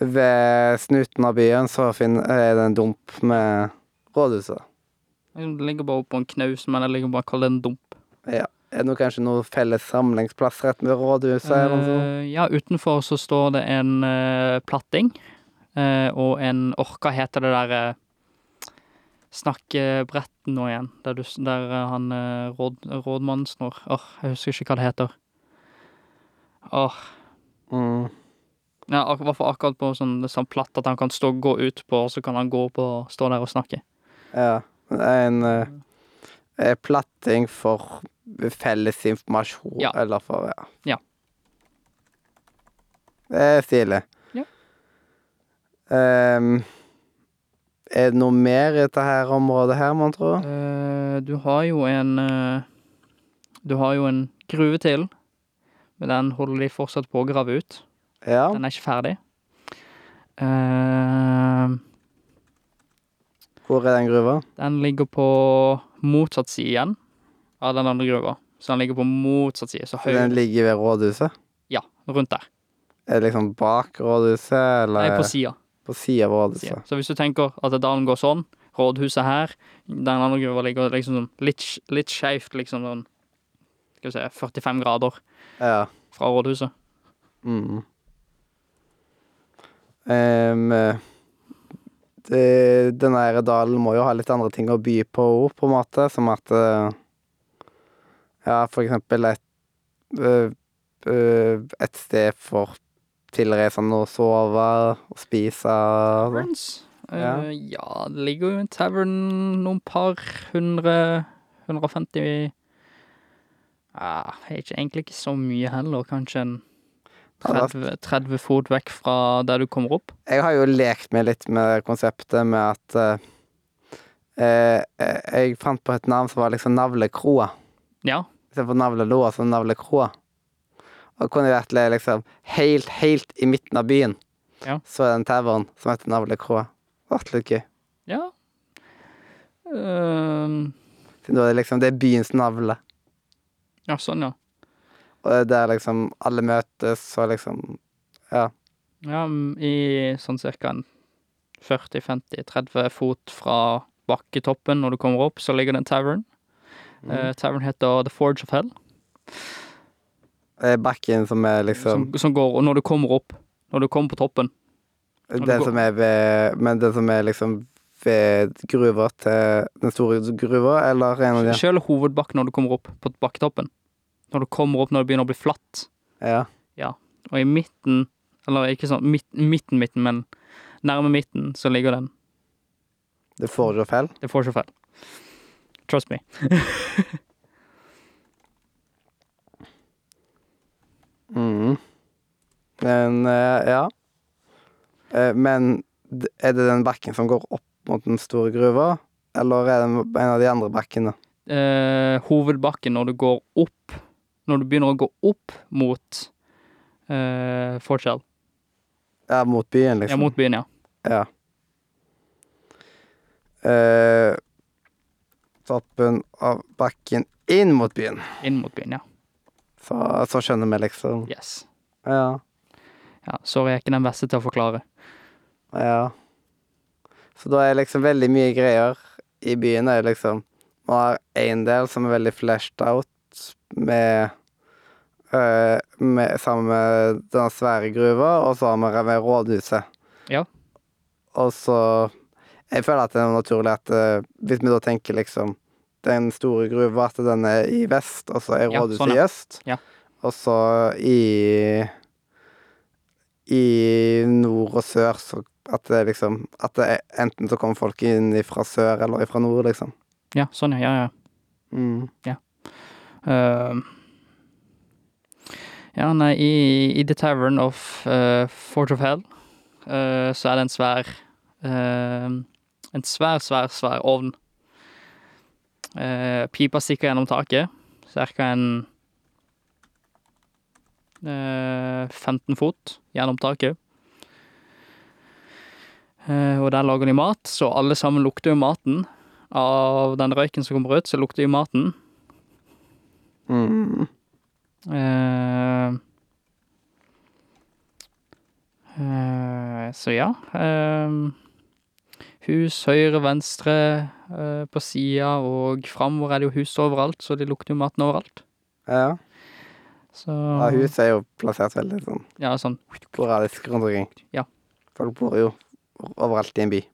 Speaker 1: ved snuten av byen, så finner, er det en dump med rådhuset.
Speaker 2: Liksom, det ligger bare oppå en knaus, men jeg ligger bare og kaller det en dump.
Speaker 1: Er det noe, kanskje noe felles samlingsplass rett ved rådhuset? eller noe sånt?
Speaker 2: Eh, ja, utenfor så står det en eh, platting, eh, og en orka heter det der eh, Snakkebretten nå igjen, der, du, s- der eh, han eh, råd, rådmannen snor. Åh, jeg husker ikke hva det heter. Åh,
Speaker 1: Mm.
Speaker 2: Ja, ak hvertfall akkurat på sånn, sånn platt at han kan stå gå ut på, og så kan han gå opp og stå der og snakke.
Speaker 1: Ja. Det er en eh, eh, platting for felles informasjon,
Speaker 2: Ja.
Speaker 1: eller for Ja.
Speaker 2: Ja.
Speaker 1: Det er stilig.
Speaker 2: Ja.
Speaker 1: Ehm, er det noe mer i dette her området her, mon tro?
Speaker 2: Eh, du har jo en eh, Du har jo en gruve til, men den holder de fortsatt på å grave ut.
Speaker 1: Ja.
Speaker 2: Den er ikke ferdig. Eh,
Speaker 1: Hvor er den gruva?
Speaker 2: den ligger på motsatt side igjen av den andre gruva. Så den ligger på motsatt side, så høyre
Speaker 1: Den ligger ved rådhuset?
Speaker 2: Ja, rundt der.
Speaker 1: Er det liksom bak rådhuset,
Speaker 2: Nei,
Speaker 1: eller
Speaker 2: på sida.
Speaker 1: på sida av
Speaker 2: siden.
Speaker 1: rådhuset?
Speaker 2: Så hvis du tenker at dalen går sånn, rådhuset her, den andre gruva ligger liksom sånn litt, litt skjevt, liksom sånn, skal vi se, 45 grader
Speaker 1: Ja.
Speaker 2: fra rådhuset.
Speaker 1: Mm. Ehm, det, den her dalen må jo ha litt andre ting å by på òg, på en måte, som at eh, Ja, for eksempel et eh, eh, Et sted for tilreisende å sove og spise og sånn.
Speaker 2: Taverns? Ja.
Speaker 1: Ja.
Speaker 2: Eh, ja, det ligger jo en tavern noen par hundre, 150 Ja, det er ikke, egentlig ikke så mye heller, kanskje en
Speaker 1: Ja, det er-
Speaker 2: 30, 30 fot vekk fra der du kommer opp.
Speaker 1: Jeg har jo lekt meg litt med konseptet med at eh, eh, Jeg fant på et navn som var liksom Navlekroa.
Speaker 2: Ja,
Speaker 1: istedenfor navlelo, altså navlekroa. Og det kunne vært le- liksom helt, helt i midten av byen.
Speaker 2: Ja.
Speaker 1: Så er det en tavern som heter Navlekroa. Det hadde vært litt gøy.
Speaker 2: ja. Ehm,
Speaker 1: Siden da er det liksom Det er byens navle.
Speaker 2: ja, sånn, ja.
Speaker 1: Og det er der liksom alle møtes, og liksom
Speaker 2: Ja, m- i sånn cirka en 40-50-30 fot fra bakketoppen når du kommer opp, så ligger det en tavern.
Speaker 1: Mm.
Speaker 2: Eh, tavern heter The Forge of Hell,
Speaker 1: det er Bakken som er liksom
Speaker 2: som, som går og når du kommer opp, når du kommer på toppen. du
Speaker 1: Det
Speaker 2: går-
Speaker 1: som er ved Men det som er liksom ved gruva til Den store gruva, eller en av de
Speaker 2: Selv hovedbakken når du kommer opp på bakketoppen. Når du kommer opp når det begynner å bli flatt,
Speaker 1: Ja.
Speaker 2: og i midten, eller ikke sånn midt, midten, midten, men nærme midten, så ligger den.
Speaker 1: Det får du feil.
Speaker 2: The Forge of Hell. Trust me.
Speaker 1: Mm.
Speaker 2: Mhm.
Speaker 1: Men eh, ja. Eh, men d- er det den bakken som går opp mot den store gruva, eller er det en av de andre bakkene?
Speaker 2: eh, hovedbakken når du går opp Når du begynner å gå opp mot eh, Forskjell.
Speaker 1: Ja, mot byen,
Speaker 2: Ja,
Speaker 1: liksom.
Speaker 2: mot byen, ja.
Speaker 1: Ja. Eh, toppen av bakken inn mot byen.
Speaker 2: Inn mot byen, ja.
Speaker 1: Så, så skjønner vi, liksom.
Speaker 2: Yes.
Speaker 1: Ja.
Speaker 2: Ja, Sorry, jeg er ikke den beste til å forklare.
Speaker 1: Ja. Så da er liksom veldig mye greier i byen er liksom Man har én del som er veldig flashed out med, øh, med Sammen med den svære gruva, og så har vi med rådhuset.
Speaker 2: Ja.
Speaker 1: Og så Jeg føler at det er naturlig at eh, hvis vi da tenker liksom den store gruva, at den er i vest, og så er
Speaker 2: Ja,
Speaker 1: rådhuset
Speaker 2: sånn,
Speaker 1: i
Speaker 2: ja.
Speaker 1: øst,
Speaker 2: Ja.
Speaker 1: og så i i nord og sør, så at det liksom At det er, enten så kommer folk inn fra sør eller fra nord, liksom.
Speaker 2: Ja, sånn, ja. ja, ja.
Speaker 1: Mm.
Speaker 2: Ehm. ja, nei, i, i The Tavern of eh, Fort of Hell eh, så er det en svær ehm, En svær, svær, svær ovn. Eh, pipa stikker gjennom taket, ca. en eh, 15 fot gjennom taket. Eh, og der lager de mat, så alle sammen lukter jo maten. Av den røyken som kommer ut, så lukter jo maten.
Speaker 1: Mm.
Speaker 2: Eh, eh, så ja. eh, hus høyre, venstre eh, på sida, og framover er det jo hus overalt, så det lukter jo maten overalt.
Speaker 1: Ja.
Speaker 2: Så
Speaker 1: ja. Huset er jo plassert veldig sånn
Speaker 2: Ja, sånn.
Speaker 1: sporadisk rundt omkring.
Speaker 2: Ja.
Speaker 1: Folk bor jo overalt i en by.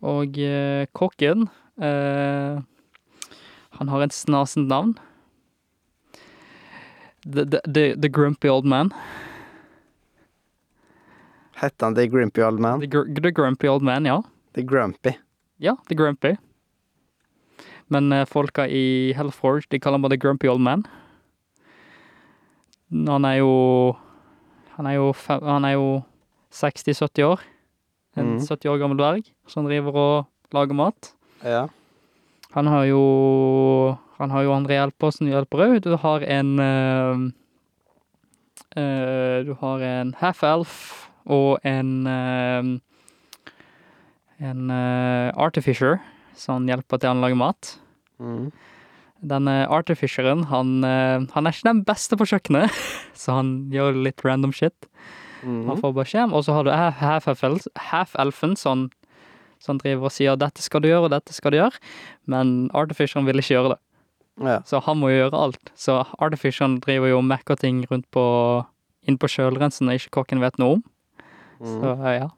Speaker 2: Og eh, kokken eh, Han har et snasent navn. The, the, the, the Grumpy Old Man.
Speaker 1: Hette han The Grumpy Old Man?
Speaker 2: The, gr the Grumpy Old Man, ja.
Speaker 1: The Grumpy.
Speaker 2: Ja, The Grumpy. Men eh, folka i Hellforge, de kaller han bare The Grumpy Old Man. Han er jo Han er jo, fem- han er jo 60-70 år. En
Speaker 1: Mhm.
Speaker 2: 70 år gammel dverg som driver og lager mat.
Speaker 1: Ja.
Speaker 2: Han har jo Han har jo andre hjelpere som hjelper òg. Du har en eh, eh, Du har en half-elf og en eh, En eh, artificer som hjelper til han lager mat.
Speaker 1: Mm.
Speaker 2: Denne artificeren, han, eh, han er ikke den beste på kjøkkenet, så han gjør litt random shit.
Speaker 1: Mm.
Speaker 2: Han får beskjed, og så har du half-elfen half elfen som, som driver og sier 'dette skal du gjøre, og dette skal du gjøre', men artificeren vil ikke gjøre det.
Speaker 1: Mm. Ja.
Speaker 2: Så han må jo gjøre alt. Så artificeren driver jo og mekker ting rundt på inn på kjølrensen og ikke kokken vet noe om.
Speaker 1: Mm.
Speaker 2: Så ja.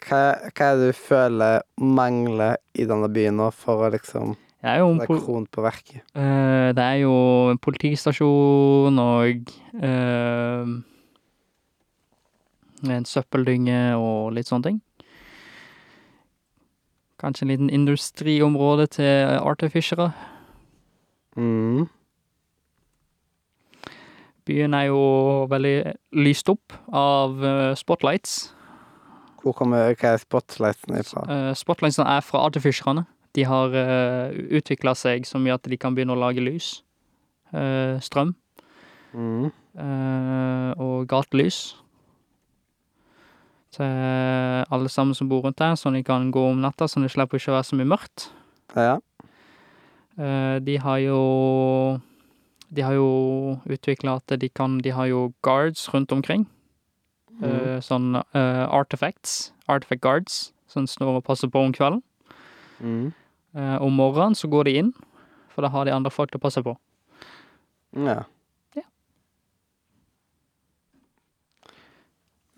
Speaker 1: Hva, hva er det du føler mangler i denne byen nå for å liksom
Speaker 2: Det er jo en,
Speaker 1: Det er
Speaker 2: pol
Speaker 1: kron på verket.
Speaker 2: eh, det er jo en politistasjon og eh, en søppeldynge og litt sånne ting. Kanskje en liten industriområde til artificere.
Speaker 1: Mm.
Speaker 2: Byen er jo veldig lyst opp av eh, spotlights.
Speaker 1: Hvor kommer hva er spotlightene ifra?
Speaker 2: Uh, Spotlightsene er fra artificerne. De har uh, utvikla seg så mye at de kan begynne å lage lys. eh, strøm
Speaker 1: Mm.
Speaker 2: eh, og gatelys. Til alle sammen som bor rundt der, så de kan gå om natta, så det slipper ikke å være så mye mørkt.
Speaker 1: Ja.
Speaker 2: Eh, de har jo De har jo utvikla at de kan De har jo guards rundt omkring.
Speaker 1: Mm.
Speaker 2: Eh, sånn eh, artifacts. Artifact guards som står og passer på om kvelden.
Speaker 1: Mm.
Speaker 2: Eh, om morgenen så går de inn, for da har de andre folk til å passe på.
Speaker 1: Ja.
Speaker 2: Ja.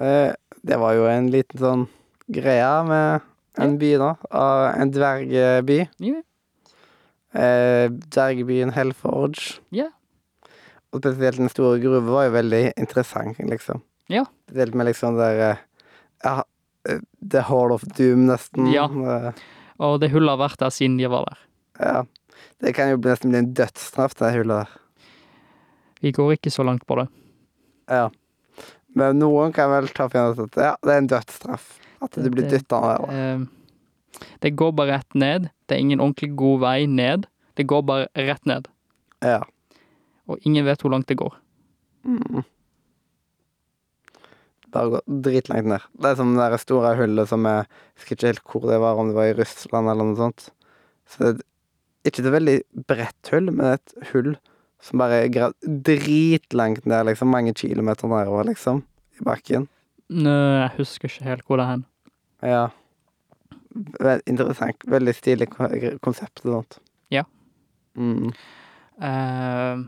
Speaker 1: Eh, det var jo en liten sånn greie med en by nå. av En dvergeby.
Speaker 2: Ja.
Speaker 1: Eh, dvergbyen Hellforge.
Speaker 2: Ja.
Speaker 1: Og spesielt den store gruva var jo veldig interessant, liksom.
Speaker 2: Ja.
Speaker 1: Spesielt med liksom der eh, ja, eh, The Hall of Doom, nesten.
Speaker 2: Ja.
Speaker 1: Eh,
Speaker 2: Og det hullet har vært der siden de var der.
Speaker 1: ja. Det kan jo bli- nesten bli en dødsstraff, det hullet der.
Speaker 2: Vi går ikke så langt på det.
Speaker 1: Ja. Men noen kan vel ta for gitt at ja, det er en dødsstraff. At du blir
Speaker 2: Det-
Speaker 1: dytta ned.
Speaker 2: Eh, det går bare rett ned. Det er ingen ordentlig god vei ned. Det går bare rett ned.
Speaker 1: Ja.
Speaker 2: Og ingen vet hvor langt det går.
Speaker 1: Mm. Bare gå dritlangt ned. Det er som det der store hullet som jeg husker ikke helt hvor det var, om det var i Russland eller noe sånt. Så det er ikke et veldig bredt hull, men et hull som bare er gravd dritlangt ned, liksom. Mange kilometer nedover, liksom. I bakken.
Speaker 2: Nø, jeg husker ikke helt hvor det er hen.
Speaker 1: Ja. Veldig interessant. Veldig stilig ko- konsept og sånt.
Speaker 2: Ja.
Speaker 1: Mm.
Speaker 2: Eh,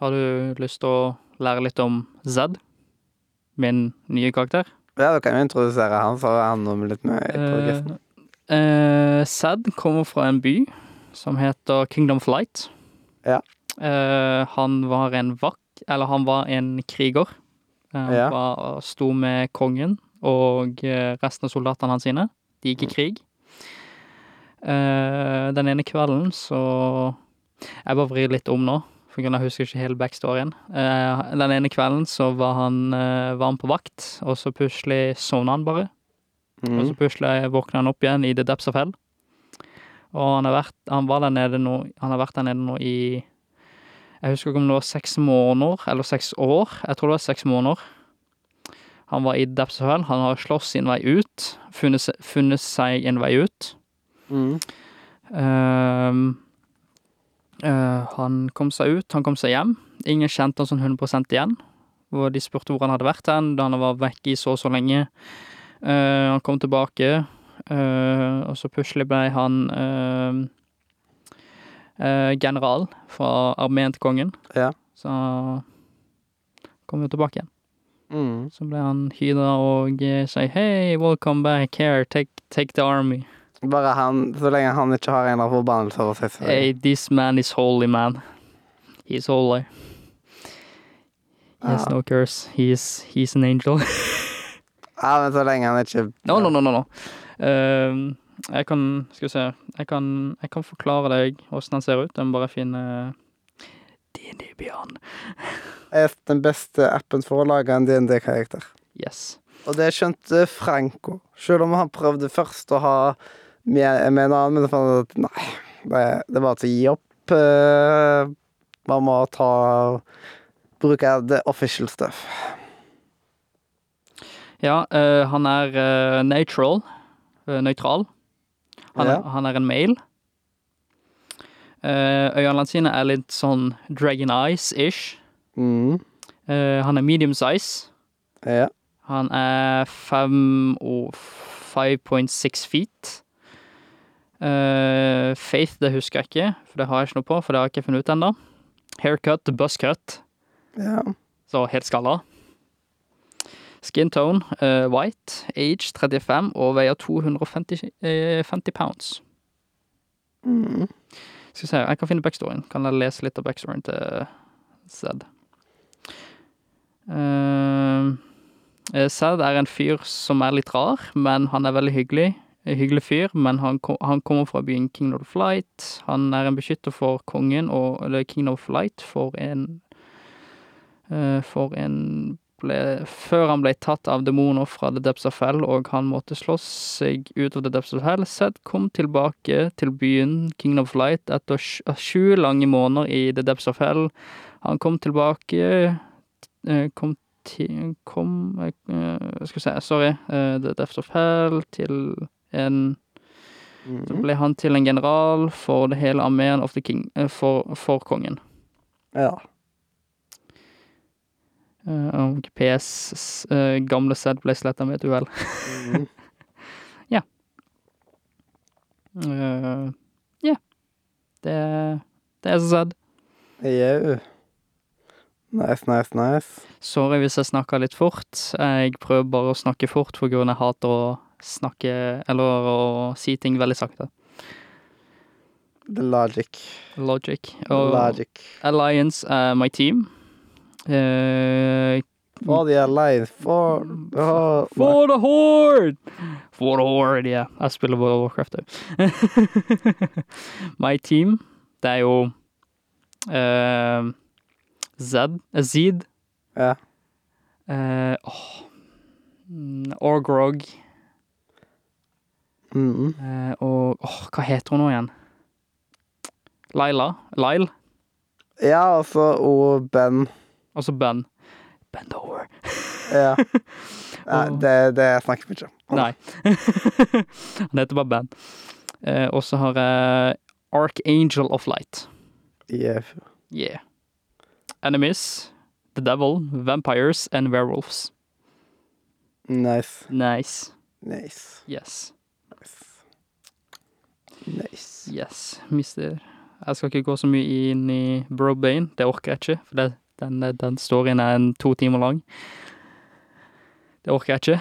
Speaker 2: har du lyst til å lære litt om Zed? Min nye karakter?
Speaker 1: Ja, da kan vi introdusere han, så er han om litt med på
Speaker 2: Eh,
Speaker 1: gesten.
Speaker 2: Eh, Sad kommer fra en by som heter Kingdom Flight.
Speaker 1: Ja.
Speaker 2: Eh, han var en vakt, eller han var en kriger. Eh, han
Speaker 1: Ja.
Speaker 2: var, sto med kongen og eh, resten av soldatene hans sine. De
Speaker 1: Mm.
Speaker 2: gikk i krig. Eh, den ene kvelden så Jeg bare vrir litt om nå, for jeg husker ikke hele backstoryen. Eh, den ene kvelden så var han, eh, var han på vakt, og så plutselig sovna han bare. Og
Speaker 1: Mm.
Speaker 2: så plutselig våkner han opp igjen i The Depths of Hell. Og han har vært, han var der nede nå, han har vært der nede nå i Jeg husker ikke om det var seks måneder, eller seks år. Jeg tror det var seks måneder. Han var i The Depths of Hell. Han har slåss sin vei ut. Funnet, se- funnet seg en vei ut.
Speaker 1: Mm.
Speaker 2: Ehm, eh, han kom seg ut, han kom seg hjem. Ingen kjente han sånn 100 igjen. Og de spurte hvor han hadde vært hen, da han var vekk i så og så lenge. Eh, han kom tilbake, eh, og så plutselig ble han eh, eh, general fra armeen til kongen.
Speaker 1: Ja.
Speaker 2: Så han kom jo tilbake igjen.
Speaker 1: Mm.
Speaker 2: Så ble han hyda og eh, sa hei, welcome back here, take, take the army.
Speaker 1: Bare han, så lenge han ikke har en eller annen forbannelse over seg. selv.
Speaker 2: Hey, this man is holy, man. He's holy. He has
Speaker 1: Ja.
Speaker 2: no curse. He's, he's an angel.
Speaker 1: ja, men så lenge han ikke
Speaker 2: no, no, no, no, no. Ehm, jeg kan Skal vi se. Jeg kan, jeg kan forklare deg åssen han ser ut. Jeg må bare finne D&D Beyond.
Speaker 1: er den beste appen for å lage en DND-karakter.
Speaker 2: Yes.
Speaker 1: Og det skjønte Franco, selv om han prøvde først å ha med, med en annen, men så fant han at nei, det, det var til å gi opp. eh, Man må ta Bruke the official stuff.
Speaker 2: Ja, eh, han er eh, natural. eh, nøytral. Han,
Speaker 1: Ja.
Speaker 2: er, han er en male. Eh, øynene sine er litt sånn Dragon Eyes-ish.
Speaker 1: Mm.
Speaker 2: Eh, han er medium size.
Speaker 1: Ja.
Speaker 2: Han er fem og 5.6 feet. Eh, faith, det husker jeg ikke, for det har jeg ikke noe på, for det har jeg ikke funnet ut ennå. Haircut, buzzcut,
Speaker 1: ja.
Speaker 2: så helt skalla. Skin tone, eh, white, age 35 og veier 250 eh, 50 pounds.
Speaker 1: Mm.
Speaker 2: Skal vi se, jeg kan finne backstoryen. Kan jeg lese litt av backstoryen til Zed? Zed Eh, er en fyr som er litt rar, men han er veldig hyggelig. En Hyggelig fyr, men han, ko- han kommer fra byen Kingdom of Light. Han er en beskytter for kongen og eller Kingdom of Light for en eh, For en ble, Før han ble tatt av demoner fra The Depths of Hell, og han måtte slåss seg ut av The Depths of Hell, Zed kom tilbake til byen Kingdom of Light etter sj- eh, sju lange måneder i The Depths of Hell. Han kom tilbake eh, Kom til Kom eh, Skal vi se, sorry. eh, The Depths of Hell til en Så
Speaker 1: Mm.
Speaker 2: ble han til en general for det hele armeen of the king eh, for, for kongen.
Speaker 1: ja.
Speaker 2: Eh, og PS eh, gamle Zed ble sletta med et uhell.
Speaker 1: Mm.
Speaker 2: Eh, Ja. Det, det er Zed.
Speaker 1: Jau. Nice, nice, nice.
Speaker 2: Sorry hvis jeg snakker litt fort. Jeg prøver bare å snakke fort for grunn av jeg hater å snakke Eller å si ting veldig sakte.
Speaker 1: The logic.
Speaker 2: Logic.
Speaker 1: The logic.
Speaker 2: Alliance er my team. Eh,
Speaker 1: For the alliance. For Åh, nei.
Speaker 2: for the horde! For the horde, ja. Jeg spiller World of Warcraft òg. my team, det er jo eh, Zed eh, Zed.
Speaker 1: Ja.
Speaker 2: Eh, åh. Mm, Orgrog.
Speaker 1: Mm.
Speaker 2: Eh, og åh, hva heter hun nå igjen? Laila? Lyle?
Speaker 1: Ja, altså og Ben.
Speaker 2: Altså Ben. Ben Dover.
Speaker 1: Ja. Nei,
Speaker 2: Og-
Speaker 1: det, det snakker vi ikke om.
Speaker 2: Nei. Han heter bare Ben. Eh, og så har jeg Archangel of Light.
Speaker 1: Jau.
Speaker 2: Yeah. Enemies, The Devil, Vampires and Werewolves.
Speaker 1: Nice.
Speaker 2: Nice.
Speaker 1: Nice.
Speaker 2: Yes.
Speaker 1: Nice. nice.
Speaker 2: Yes, mister. Jeg skal ikke gå så mye inn i Brobane. Det orker jeg ikke. For det, den, den storyen er en to timer lang. Det orker jeg ikke.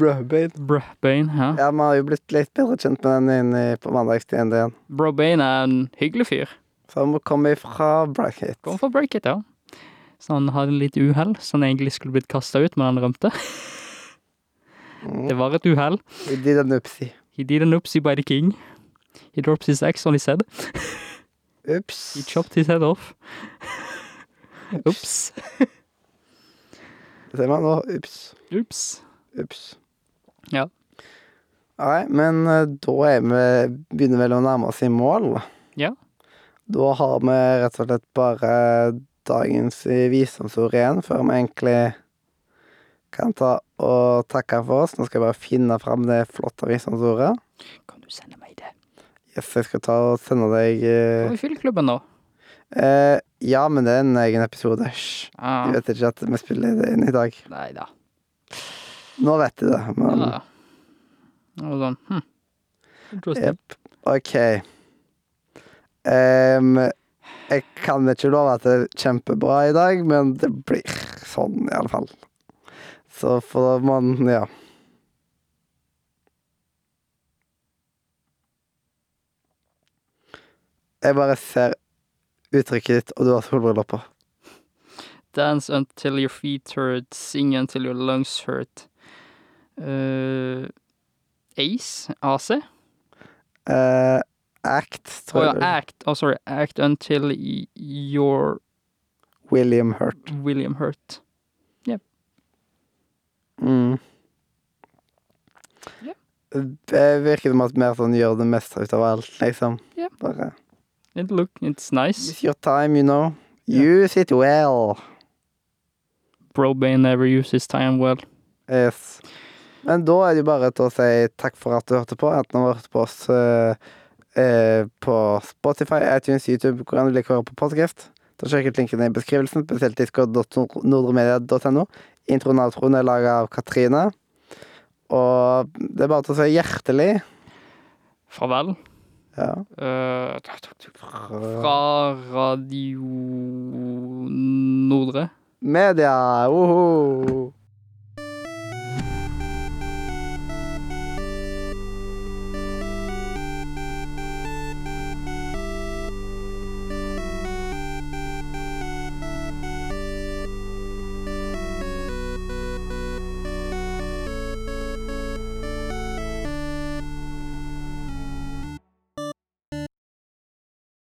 Speaker 1: Brødbein.
Speaker 2: Brobane, ja.
Speaker 1: Ja, vi har jo blitt litt bedre kjent med den inne i- på mandagstiden din.
Speaker 2: Brobane er en hyggelig fyr.
Speaker 1: Så han må komme ifra Bracket.
Speaker 2: Kom for break it, ja. Så han hadde litt uhell, så han egentlig skulle blitt kasta ut, men han rømte.
Speaker 1: Mm.
Speaker 2: Det var et uhell.
Speaker 1: He did an oopsie.
Speaker 2: He did an oopsie by the king. He drops his axe on his head.
Speaker 1: Ups.
Speaker 2: He chopped his head off. Ops.
Speaker 1: Det ser man nå. Ups.
Speaker 2: Ups.
Speaker 1: Ups.
Speaker 2: Ja.
Speaker 1: Nei, men eh, da er vi, begynner vel å nærme oss i mål.
Speaker 2: Ja.
Speaker 1: Da har vi rett og slett bare dagens visdomsord igjen, før vi egentlig kan ta og takke for oss. Nå skal jeg bare finne fram det flotte visdomsordet.
Speaker 2: Kan du sende meg det?
Speaker 1: Yes, jeg skal ta og sende deg eh,
Speaker 2: Var vi i fyllklubben nå?
Speaker 1: eh, Ja, men det er en egen episode. Hysj.
Speaker 2: Ah,
Speaker 1: De vet ikke at vi spiller det inn i dag.
Speaker 2: nei da.
Speaker 1: Nå vet de det. Men
Speaker 2: Ja. Det var sånn, hm. Interesting.
Speaker 1: Jepp. OK. Em, jeg kan ikke love at det er kjempebra i dag, men det blir sånn, i alle fall. Så får man Ja. Jeg bare ser uttrykket ditt, og du har solbriller på.
Speaker 2: Dance until your feet hurt, sing until your lungs hurt. Eh, Ace, AC?
Speaker 1: Eh, act,
Speaker 2: Å
Speaker 1: tror
Speaker 2: ja,
Speaker 1: jeg.
Speaker 2: act. Oh, sorry. Act until y- your
Speaker 1: William Hurt.
Speaker 2: William hurt.
Speaker 1: Mm.
Speaker 2: Ja.
Speaker 1: Det virker som at mer sånn gjør det meste ut av alt, liksom.
Speaker 2: Ja.
Speaker 1: Bare
Speaker 2: It look, it's nice.
Speaker 1: It's your time, you know. Use it well.
Speaker 2: Brobane never uses time well.
Speaker 1: Yes. Men da er det jo bare til å si takk for at du hørte på, enten du har hørt på oss eh, eh, på Spotify, iTunes, YouTube, hvor enn du liker å høre på podkast. Da sjekk ut linken i beskrivelsen, spesielt discord.nordremedia.no. Introen og outroen er laga av Katrine. Og det er bare til å si hjertelig
Speaker 2: Farvel.
Speaker 1: ja.
Speaker 2: Eh, fra Radio Nordre.
Speaker 1: Media! Woho!